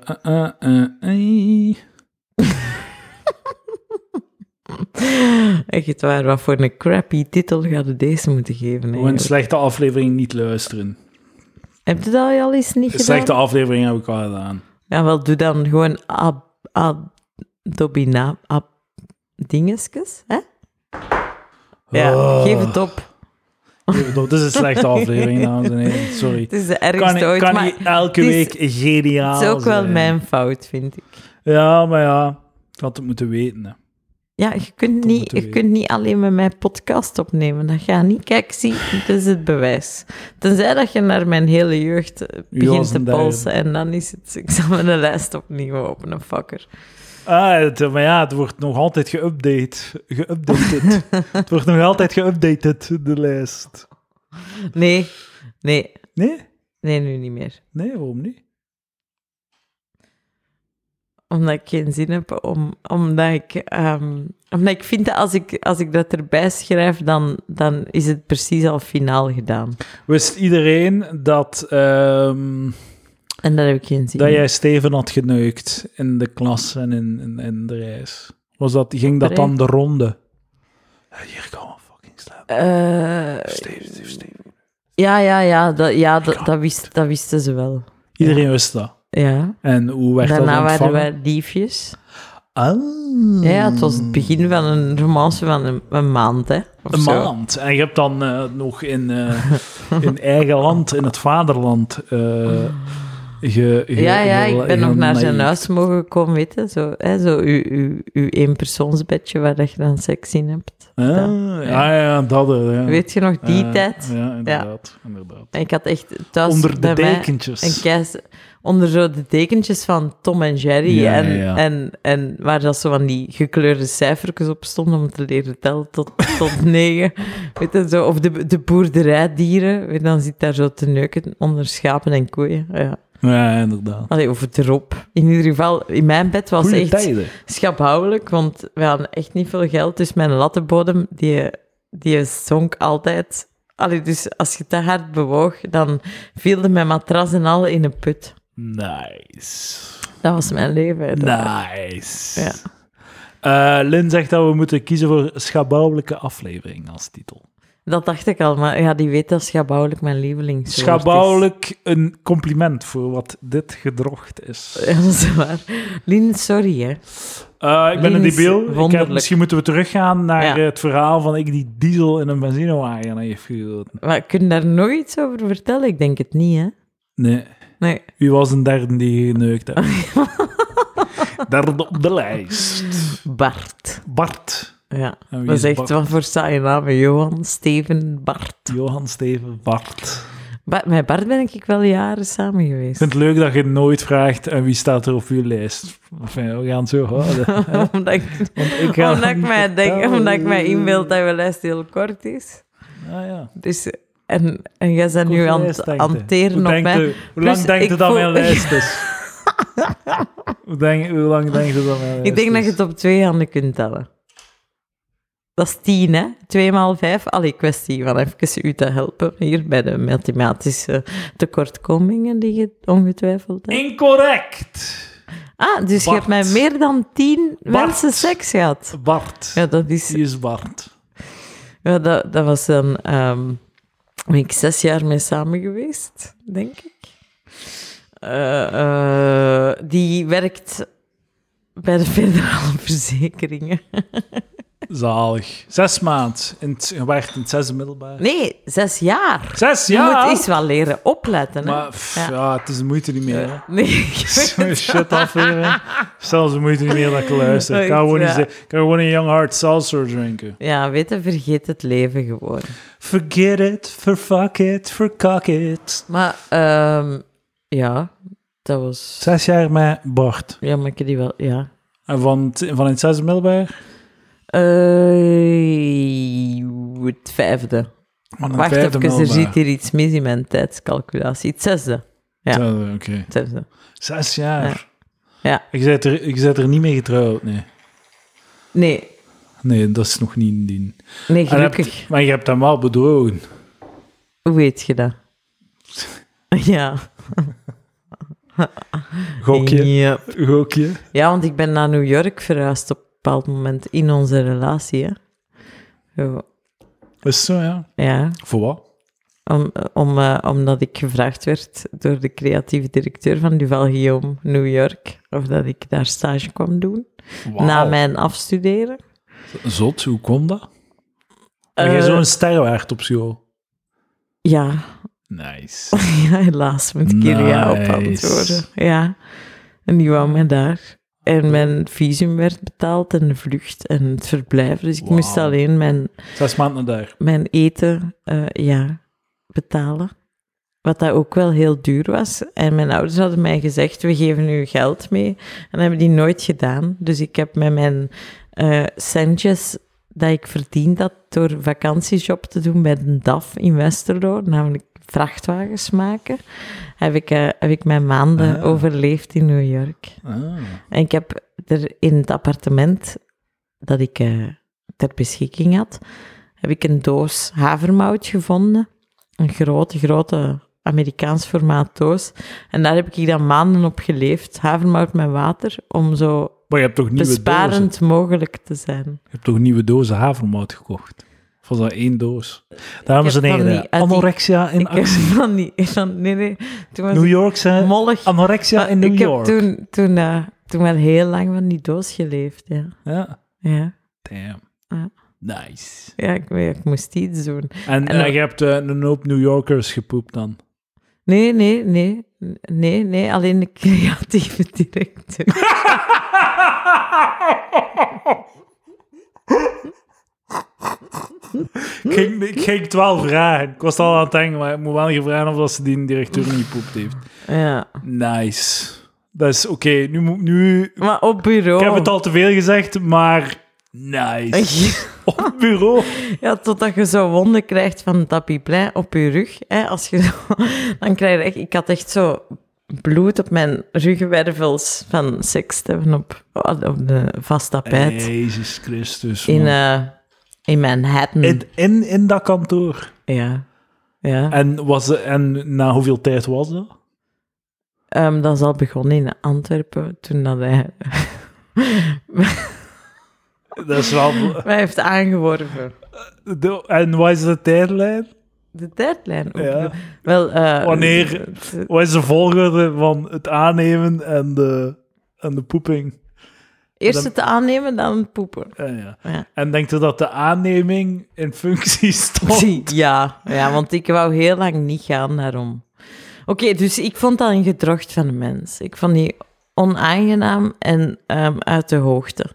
A: Echt waar, wat voor een crappy titel gaat het deze moeten geven?
B: Gewoon een
A: eigenlijk?
B: slechte aflevering niet luisteren.
A: Heb je dat al eens niet
B: Een
A: gedaan?
B: slechte aflevering heb ik al gedaan.
A: Ja, wel, doe dan gewoon ab, ab, dobina, ab, dingetjes, hè? Ja,
B: Ah.
A: geef het op.
B: Even door, Dit is een
A: *laughs*
B: slechte aflevering, dames en heren. Sorry.
A: Het is de
B: Kan,
A: ergste
B: ik,
A: ooit,
B: kan
A: maar
B: niet elke
A: het is-
B: week geniaal
A: het is ook wel
B: zijn.
A: mijn fout, vind ik.
B: Ja, maar ja. Ik had het moeten weten. hè.
A: Ja, je kunt,
B: Dat
A: niet,
B: moeten we
A: je kunt niet alleen met mijn podcast opnemen. Dat gaat niet. Kijk, zie, dit is het bewijs. Tenzij dat je naar mijn hele jeugd eh,
B: als
A: begint te
B: een dier.
A: polsen en dan is het... Ik zal mijn lijst opnieuw openen, fucker.
B: Ah, het, maar ja, het wordt nog altijd geüpdate.
A: *laughs*
B: Geüpdated. het wordt nog altijd geüpdated, de lijst.
A: Nee, nee,
B: Nee?
A: nee, nu niet meer.
B: Nee, waarom niet?
A: Omdat ik geen zin heb, om, omdat, ik, ehm, omdat ik vind dat als ik, als ik dat erbij schrijf, dan, dan is het precies al finaal gedaan.
B: Wist iedereen dat, ehm,
A: En daar heb ik geen zin
B: dat
A: in.
B: jij Steven had geneukt in de klas en in, in, in de reis? Was dat, ging dat dan de ronde? Ja, hier gaan we fucking slapen.
A: Eh,
B: Steven, Steven, Steven.
A: ja, ja, ja, dat, ja dat, dat, wist, dat wisten ze wel.
B: Iedereen wist dat.
A: Ja.
B: En hoe werd
A: Daarna
B: dat
A: waren
B: ontvangen?
A: wij liefjes.
B: Ah.
A: Ja, ja, het was het begin van een romance van een, een maand, hè. of
B: Een
A: zo.
B: maand. En je hebt dan eh, nog
A: *laughs*
B: in, eh, in eigen land, in het vaderland, eh ge, Ah, ge-
A: Ja, ja,
B: ge-
A: ik ben nog naar zijn
B: ge-
A: huis mogen komen, weet je. Zo, hè, zo uw, uw, uw eenpersoonsbedje waar dat je dan seks in hebt.
B: Ah, ja, ja, dat. eh, ja.
A: Weet je nog die
B: Eh,
A: tijd?
B: Ja, inderdaad. inderdaad.
A: En Ik had echt thuis
B: Onder de
A: bij mij
B: dekentjes.
A: een keis, onder zo de dekentjes van Tom en Jerry.
B: Ja,
A: en,
B: ja, ja.
A: En, en waar dat zo van die gekleurde cijfertjes op stonden om te leren tellen tot, *laughs* tot negen. Weet je, zo, of de, de boerderijdieren. Weet je, dan zit daar zo te neuken onder schapen en koeien. Ja.
B: ja, inderdaad.
A: Allee, of het erop. In ieder geval, in mijn bed was
B: Goeie
A: echt
B: tijden.
A: schabouwelijk, want we hadden echt niet veel geld. Dus mijn lattenbodem, die, die zonk altijd. Allee, dus als je te hard bewoog, dan vielde mijn matras en al in een put.
B: Nice.
A: Dat was mijn leven. hè, dat-
B: Nou. Nice.
A: Ja.
B: Eh, Lin zegt dat we moeten kiezen voor schabouwelijke aflevering als titel.
A: Dat dacht ik al, maar ja, die weet dat schabouwelijk mijn lieveling is.
B: Schabouwelijk een compliment voor wat dit gedrocht is.
A: *laughs* Ja, dat is waar. Lien, sorry hè.
B: Eh, ik ben een
A: Lien is
B: debiel. Ik heb,
A: wonderlijk.
B: misschien moeten we teruggaan naar
A: Ja.
B: eh, het verhaal van ik die diesel in een benzinewagen heeft gegoten.
A: Maar kun je daar nog iets over vertellen? Ik denk het niet hè.
B: Nee,
A: Nee.
B: u was een derde die geneukt heeft.
A: *laughs*
B: derde op de lijst.
A: Bart.
B: Bart.
A: Ja.
B: En wie
A: Dat is
B: is
A: echt
B: Bart?
A: wat voor saaie namen. Johan, Steven, Bart.
B: Johan Steven Bart.
A: Ba- met Bart ben ik wel jaren samen geweest.
B: Ik vind het leuk dat je nooit vraagt en wie staat er op uw lijst. Enfin, we gaan het zo
A: *laughs*
B: houden. *laughs*
A: omdat ik,
B: Want ik ga
A: omdat ik, mij
B: niet
A: denk,
B: vertellen.
A: omdat ik mij inbeeld dat mijn lijst heel kort is.
B: Ah, ja.
A: Dus, en, en jij bent nu aan
B: Lijst,
A: het
B: denkt hij.
A: hanteren
B: Hoe
A: op
B: denkt
A: mij.
B: u- Hoe lang
A: Plus,
B: denkt
A: ik
B: u dat
A: voel-
B: mijn
A: *laughs*
B: lijst is? hoe, denk, hoe lang denkt u dat mijn lijst
A: Ik denk dat je
B: is?
A: het op twee handen kunt tellen. Dat is tien, hè? Twee maal vijf. Allee, kwestie van even u te helpen hier bij de mathematische tekortkomingen die je ongetwijfeld hebt.
B: Incorrect!
A: Ah, dus je hebt
B: Bart.
A: met meer dan tien
B: Bart.
A: mensen seks gehad.
B: Bart.
A: Ja, dat is
B: Die is Bart.
A: Ja, dat, dat was dan ehm, ben ik zes jaar mee samen geweest, denk ik. Eh, eh, die werkt bij de federale *laughs* verzekeringen.
B: Zalig. Zes maand. In het, je werkt in het zesde middelbaar.
A: Nee, zes jaar.
B: Zes
A: Je
B: jaar?
A: moet eens wel leren opletten. Hè?
B: maar pff,
A: Ja.
B: ja. het is de moeite niet meer. hè.
A: *laughs* Nee, ik weet
B: *laughs* Zo'n
A: het
B: shit afleren. Zelfs de moeite niet meer dat ik luister. Ik kan
A: Echt,
B: gewoon,
A: ja.
B: niet zeggen- ik kan gewoon een Young Heart Seltzer drinken.
A: Ja, weet je, vergeet het leven gewoon.
B: Forget it, for fuck it, for cock it.
A: Maar ehm, ja, dat was...
B: Zes jaar met Bart.
A: Ja, maar ik heb die wel... Ja.
B: En van, het- van in het zesde middelbaar?
A: Eh, het vijfde.
B: Van het
A: Wacht
B: vijfde
A: even, er
B: middelbaar.
A: zit hier iets mis in mijn tijdscalculatie. Het zesde. ja.
B: Zesde, Oké.
A: Het zesde.
B: Zes jaar.
A: Ja. Ja.
B: Ik zit er, ik zit er niet mee getrouwd, nee.
A: Nee,
B: Nee, dat is nog niet indien.
A: nee
B: En je hebt-
A: gelukkig.
B: maar je hebt hem wel bedrogen.
A: Hoe weet je dat? *laughs* Ja.
B: Gokje.
A: Ja.
B: Gokje.
A: Ja, want ik ben naar New York verhuisd op een bepaald moment in onze relatie. Hè. Zo,
B: Is zo, ja.
A: Ja,
B: Voor wat?
A: om, om, eh, omdat ik gevraagd werd door de creatieve directeur van Duval Guillaume New York of dat ik daar stage kwam doen
B: Wauw.
A: na mijn afstuderen.
B: Zot, hoe kon dat? Heb jij
A: Eh,
B: zo'n sterrenwaard op school?
A: Ja, *laughs*
B: Nice.
A: Oh Ja, helaas moet ik hier ja op
B: Nice.
A: antwoorden. Ja. En die wou mij daar. En mijn visum werd betaald en de vlucht en het verblijf. Dus ik moest
B: Wauw.
A: alleen mijn,
B: Zes maanden daar.
A: mijn eten eh, ja, betalen. Wat dat ook wel heel duur was. En mijn ouders hadden mij gezegd, we geven u geld mee. En hebben die nooit gedaan. Dus ik heb met mijn eh centjes dat ik verdiend had door vakantiejob te doen bij een DAF in Westerlo, namelijk vrachtwagens maken, heb ik, eh, heb ik mijn maanden
B: Ah.
A: overleefd in New York.
B: Ah.
A: En ik heb er in het appartement dat ik eh, ter beschikking had, heb ik een doos havermout gevonden. Een grote, grote Amerikaans formaat doos. En daar heb ik dan maanden op geleefd. Havermout met water, om zo
B: Maar je hebt toch nieuwe dozen?
A: besparend mogelijk te zijn.
B: Je hebt toch nieuwe dozen havermout gekocht? Van zo'n één doos.
C: Dames
A: Ik
C: en
A: heb van
C: heren,
A: die- uit die-
C: anorexia in
A: Ik heb
C: actie.
A: van die... Van, nee, nee. Toen *laughs* was
B: New
A: ik
B: York, hè?
A: mollig.
B: Anorexia
A: Maar
B: in New
A: ik
B: York.
A: heb toen, toen, eh, toen wel heel lang van die doos geleefd, ja.
B: Ja.
A: Ja,
B: Damn.
A: Ja.
B: Nice.
A: ja ik, weet- ik moest iets doen.
B: En,
A: En dan-
B: eh, je hebt eh, een hoop New Yorkers gepoept dan.
A: Nee, nee, nee. Nee, nee, alleen de creatieve directeur.
B: Ik ging,
A: Hm?
B: ik ging het wel vragen. Ik was al aan het denken, maar ik moet wel gevraagd of dat ze die directeur niet gepoept heeft.
A: Ja.
B: Nice. Dat is oké. Nu, moet- nu...
A: Maar op bureau.
B: Ik heb het al te veel gezegd, maar... Nice. Op het bureau.
A: *laughs* Ja, totdat je zo wonden krijgt van tapiplein op je rug. Hè, als je zo, *laughs* dan krijg je echt... Ik had echt zo bloed op mijn ruggenwervels van seks te hebben op, op de vast tapijt.
B: Jezus Christus.
A: in, ehm,
B: man.
A: eh in Manhattan.
B: in, in, in dat kantoor.
A: Ja. ja.
B: En, was, en na hoeveel tijd was dat?
A: Ehm, dat is al begonnen in Antwerpen, toen dat hij *laughs*
B: Dat is wel...
A: mij heeft aangeworven.
B: De- en wat is de tijdlijn?
A: De tijdlijn ook.
B: Ja.
A: Wel, eh,
B: Wanneer-
A: het-
B: Wat is de volgorde van het aannemen en de, en de poeping?
A: Eerst het aannemen, dan het poepen.
B: Eh, ja.
A: Ja.
B: En denkt u dat de aanneming in functie *laughs*
A: *laughs*
B: stond?
A: Ja, ja, want ik wou heel lang niet gaan daarom. Oké, dus ik vond dat een gedrocht van de mens. Ik vond die onaangenaam en ehm, uit de hoogte.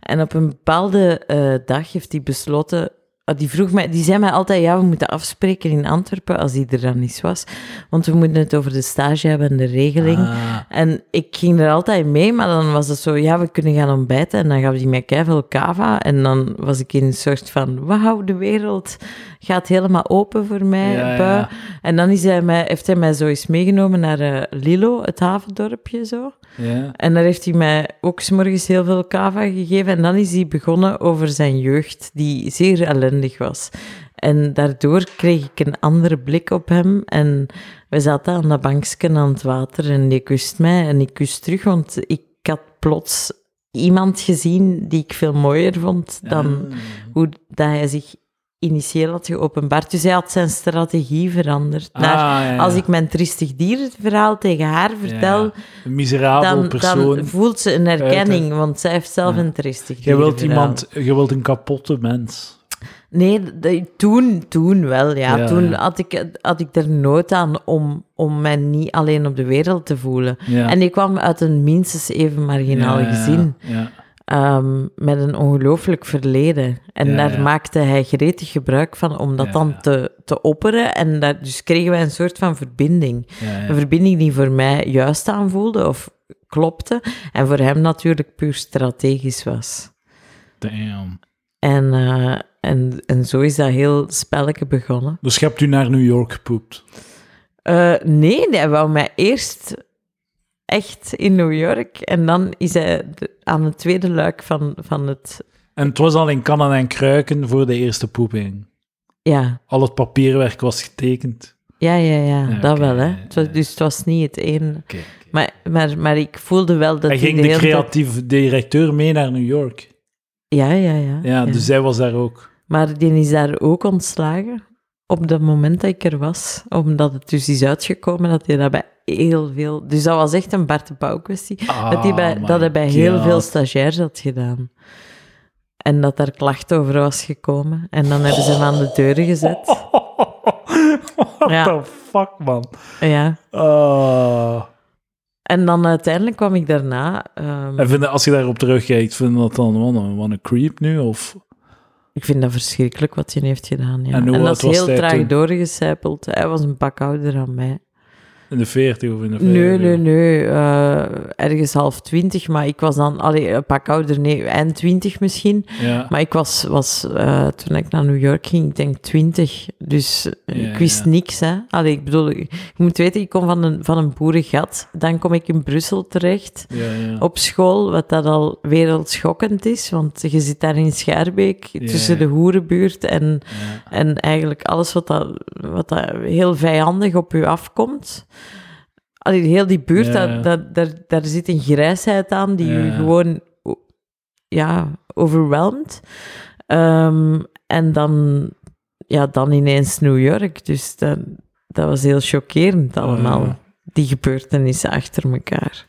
A: En op een bepaalde eh, dag heeft hij besloten. ah, die vroeg mij, die zei mij altijd: ja, we moeten afspreken in Antwerpen als die er dan niet was. Want we moeten het over de stage hebben en de regeling.
B: Ah,
A: En ik ging er altijd mee, maar dan was het zo, ja, we kunnen gaan ontbijten. En dan gaf hij mij keiveel kava. En dan was ik in een soort van, wauw, de wereld gaat helemaal open voor mij.
B: Ja,
A: bui."
B: ja.
A: En dan is hij mij, heeft hij mij zo eens meegenomen naar eh, Lilo, het havendorpje zo.
B: Ja.
A: En daar heeft hij mij ook 's morgens heel veel kava gegeven. En dan is hij begonnen over zijn jeugd, die zeer ellendig was. En daardoor kreeg ik een andere blik op hem. En we zaten aan dat bankje aan het water en die kust mij en ik kust terug. Want ik had plots Ehm,
B: Hmm.
A: iemand gezien die ik veel mooier vond dan hoe dat hij zich initieel had geopenbaard. Dus hij had zijn strategie veranderd. Naar,
B: Ah, ja, ja.
A: Als ik mijn tristig dierverhaal tegen haar vertel,
B: Ja, ja. Een miserabel
A: dan,
B: persoon.
A: dan voelt ze een herkenning, want zij heeft zelf
B: Ja.
A: een tristig
B: Jij wilt
A: dierenverhaal.
B: iemand, je wilt een kapotte mens.
A: Nee, de- toen, toen wel, ja.
B: Ja,
A: toen
B: ja.
A: Had, ik, had ik er nood aan om, om mij niet alleen op de wereld te voelen.
B: Ja.
A: En ik kwam uit een minstens even marginaal
B: Ja, ja,
A: gezin,
B: Ja,
A: ehm, met een ongelooflijk verleden. En
B: Ja,
A: daar
B: ja.
A: maakte hij gretig gebruik van om dat
B: Ja,
A: dan
B: ja.
A: Te, te opperen. En daar, dus kregen wij een soort van verbinding.
B: ja, ja.
A: Een verbinding die voor mij juist aanvoelde of klopte. En voor hem natuurlijk puur strategisch was.
B: Damn.
A: En, eh, en, en zo is dat heel spelletje begonnen.
B: Dus je hebt u naar New York gepoept.
A: Eh, nee, hij wou mij eerst echt in New York. En dan is hij de- aan het tweede luik van, van het...
B: En het was al in kannen en kruiken voor de eerste poeping.
A: Ja,
B: Al het papierwerk was getekend.
A: ja, ja, ja,
B: Ja,
A: dat
B: oké,
A: wel. Hè.
B: ja,
A: Het was-
B: ja.
A: dus het was niet het een.
B: Oké.
A: Maar, maar, maar ik voelde wel dat
B: Hij ging de
A: hele tijd-
B: creatieve directeur mee naar New York.
A: Ja, ja, ja.
B: Ja,
A: ja.
B: dus zij was daar ook.
A: Maar die is daar ook ontslagen. Op dat moment dat ik er was. Omdat het dus is uitgekomen dat hij daarbij heel veel... Dus dat was echt een Bart de Pauw kwestie. dat, die bij,
B: Ah,
A: dat hij
B: my
A: bij heel
B: God.
A: veel stagiairs had gedaan. En dat daar klacht over was gekomen. En dan hebben ze hem aan de deuren
B: *laughs*
A: gezet.
B: *laughs* What
A: Ja.
B: the fuck, man?
A: Ja.
B: Ah.
A: En dan uiteindelijk kwam ik daarna... ehm,
B: En vind, je- als je daarop terugkijkt, vind je dat dan wat een, wat een creep nu? Of...
A: ik vind dat verschrikkelijk wat hij heeft gedaan. Ja.
B: En
A: En,
B: hoe oud
A: dat is
B: was
A: heel
B: hij
A: traag
B: toen?
A: doorgecijpeld. Hij was een pak ouder dan mij.
B: In de 40 of in de 50?
A: Nee, nee, nee. eh, ergens half twintig, maar ik was dan... Allee, een pak ouder, nee, eind twintig misschien.
B: Ja.
A: Maar ik was, was eh, toen ik naar New York ging, ik denk twintig. Dus eh,
B: Ja,
A: ik wist
B: ja.
A: niks, hè. Allee, ik bedoel, je moet weten, ik kom van een, van een boerengat. Dan kom ik in Brussel terecht,
B: Ja, ja.
A: op school, wat dat al wereldschokkend is. Want je zit daar in Schaarbeek,
B: Ja,
A: tussen
B: ja.
A: de hoerenbuurt en...
B: ja.
A: En eigenlijk alles wat, dat, wat dat heel vijandig op u afkomt. Allee, heel die buurt,
B: Ja.
A: dat, dat, daar, daar zit een grijsheid aan die u
B: Ja.
A: gewoon o- ja, overweldigt. Ehm, en dan, ja, dan ineens New York. Dus dat, dat was heel chockerend allemaal.
B: Ja.
A: Die gebeurtenissen achter elkaar.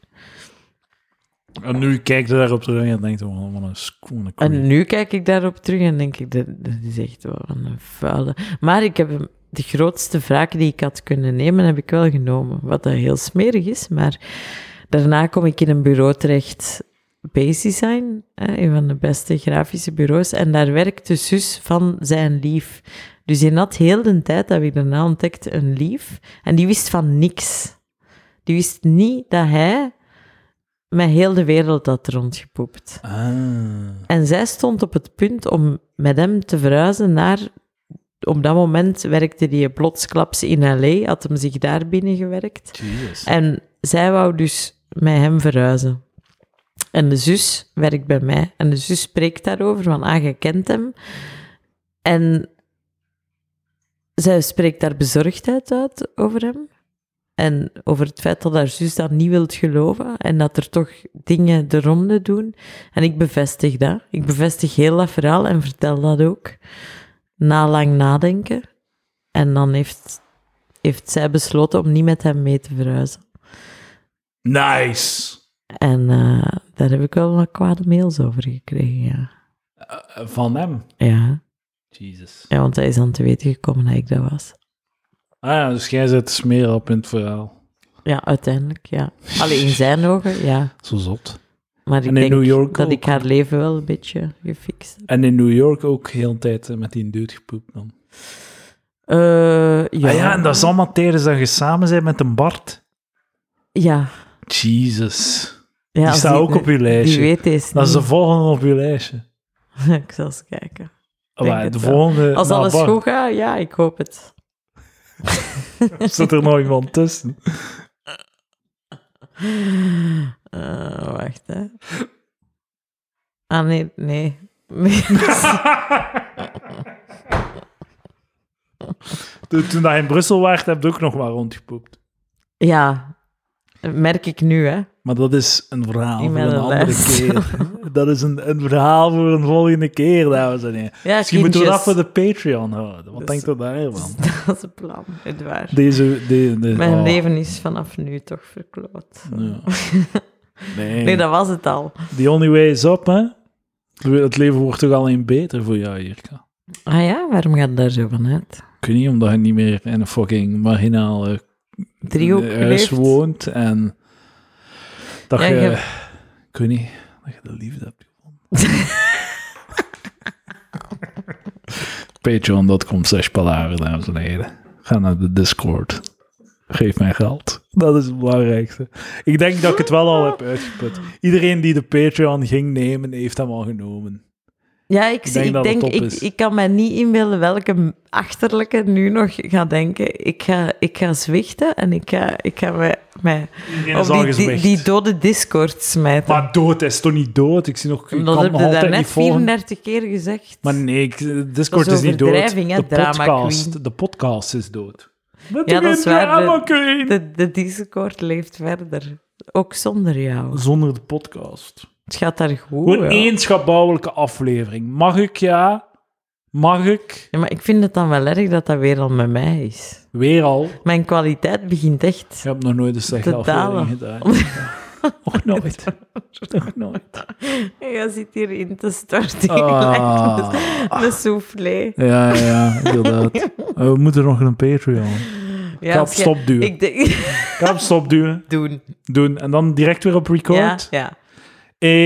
B: En nu kijkt je daarop terug en denkt, oh, wat een schoene creep.
A: En nu kijk ik daarop terug en denk ik, dat, dat is echt wel een vuile. Maar ik heb hem- de grootste wraak die ik had kunnen nemen, heb ik wel genomen. Wat dat heel smerig is, maar daarna kom ik in een bureau terecht, Base Design, hè, een van de beste grafische bureaus, en daar werkt de zus van zijn lief. Dus in dat heel de tijd heb ik daarna ontdekt een lief, en die wist van niks. Die wist niet dat hij met heel de wereld had rondgepoept.
B: Ah.
A: En zij stond op het punt om met hem te verhuizen naar. Op dat moment werkte hij plotsklaps in LA, had hem zich daar binnengewerkt.
B: Jesus.
A: En zij wou dus met hem verhuizen. En de zus werkt bij mij. En de zus spreekt daarover, van ah, je kent hem. En zij spreekt daar bezorgdheid uit over hem. En over het feit dat haar zus dat niet wilt geloven en dat er toch dingen de ronde doen. En ik bevestig dat. Ik bevestig heel dat verhaal en vertel dat ook. Na lang nadenken. En dan heeft, heeft zij besloten om niet met hem mee te verhuizen.
B: Nice.
A: En eh, daar heb ik wel wat kwade mails over gekregen, ja.
B: Eh, van hem.
A: Ja,
B: Jesus.
A: ja want hij is aan te weten gekomen dat ik dat was.
B: Ah ja, dus jij zet smeer op in het verhaal.
A: Ja, uiteindelijk, ja. Alleen in zijn ogen, ja.
B: Zo zot.
A: Maar ik
B: En in
A: denk
B: New York
A: dat
B: ook.
A: ik haar leven wel een beetje gefixt heb.
B: En in New York ook heel de tijd eh, met die dude gepoept dan.
A: Eh, ja.
B: Ja. Ah ja, en dat is allemaal tijdens dat je samen bent met een Bart.
A: Ja.
B: Jesus.
A: Ja,
B: Die
A: als
B: staat ook op uw
A: Die
B: lijstje.
A: weet deze
B: Dat is de
A: niet.
B: volgende op je lijstje.
A: *laughs* ik zal eens kijken.
B: Ah,
A: Denk
B: maar
A: het
B: de
A: wel.
B: volgende.
A: Als
B: na
A: alles
B: Bart.
A: goed gaat, ja, ik hoop het.
B: Zit er nog iemand tussen?
A: Eh, wacht, hè. Ah, nee, nee. *laughs* Nee.
B: Toen toen dat je in Brussel was, heb je ook nog maar rondgepoept.
A: Ja, merk ik nu, hè.
B: Maar dat is een verhaal
A: Niet
B: voor
A: met
B: een
A: een
B: andere
A: les.
B: keer.
A: *laughs*
B: Dat is een, een verhaal voor een volgende keer, dames en heren.
A: Ja,
B: Misschien moeten we dat voor
A: kindjes.
B: de Patreon houden. Wat
A: Dus-
B: denkt u daarvan?
A: *laughs* Dat is het plan, het waar.
B: Deze... De, de-
A: Mijn
B: oh,
A: leven is vanaf nu toch verkloot. *laughs*
B: ja. Nee,
A: Nee, dat was het al.
B: the only way is up, hè. Het leven wordt toch alleen beter voor jou, Jirka?
A: Ah ja, waarom gaat het daar zo van uit?
B: Ik weet niet, omdat je niet meer in een fucking eh, marginale
A: Driehoek
B: eh, huis
A: leeft.
B: woont en dat
A: Ja,
B: je,
A: je
B: Ik weet niet, dat je de liefde hebt gevonden.
A: *laughs*
B: Patreon.com slash palaver, dames en heren. Ga naar de Discord. Geef mij geld. Dat is het belangrijkste. Ik denk dat ik het wel al heb uitgeput. Iedereen die de Patreon ging nemen, heeft hem al genomen.
A: Ja, ik,
B: Ik
A: ik
B: denk
A: denk,
B: dat
A: ik,
B: het
A: ik,
B: top is.
A: kan mij niet inbeelden welke achterlijke nu nog gaat denken. Ik ga, ik ga zwichten en ik ga, ik ga mij, mij
C: Iedereen
A: op
C: is al
A: die, die,
C: gezwicht.
A: die dode Discord smijten.
B: Maar dood is toch niet dood? Ik zie nog, ik
A: dat
B: kan
A: heb
B: nog
A: je
B: altijd niet
A: daarnet
B: volgen.
A: 34 keer gezegd.
B: Maar nee, ik- eh, Discord
A: Dat
B: is
A: is
B: niet dood.
A: overdrijving, hè,
B: de,
A: drama
B: podcast,
A: queen.
B: de podcast is dood.
A: Ja, dat is waar.
B: Drama
A: De,
B: queen.
A: de, de Discord leeft verder. Ook zonder jou.
B: Zonder de podcast. Oh,
A: Het gaat daar goed.
B: Gewoon
A: ja.
B: één schabouwelijke aflevering. Mag ik, ja? Mag ik?
A: Ja, maar ik vind het dan wel erg dat dat weer al met mij is.
B: Weer al.
A: Mijn kwaliteit begint echt.
B: Je hebt nog nooit een slechte
A: Te dalen.
B: aflevering
A: *laughs*
B: gedaan. Nog nooit. Nog nooit.
A: Je zit hier in te storten.
B: Ah.
A: De soufflé.
B: Ja, ja, ja, inderdaad. Eh, We moeten nog een Patreon.
A: Ja,
B: Kap,
A: als je-
B: stop duwen.
A: Ik denk... *laughs*
B: Kap, stop duwen.
A: Doen.
B: Doen. En dan direct weer op record.
A: Ja, ja.
B: Eh,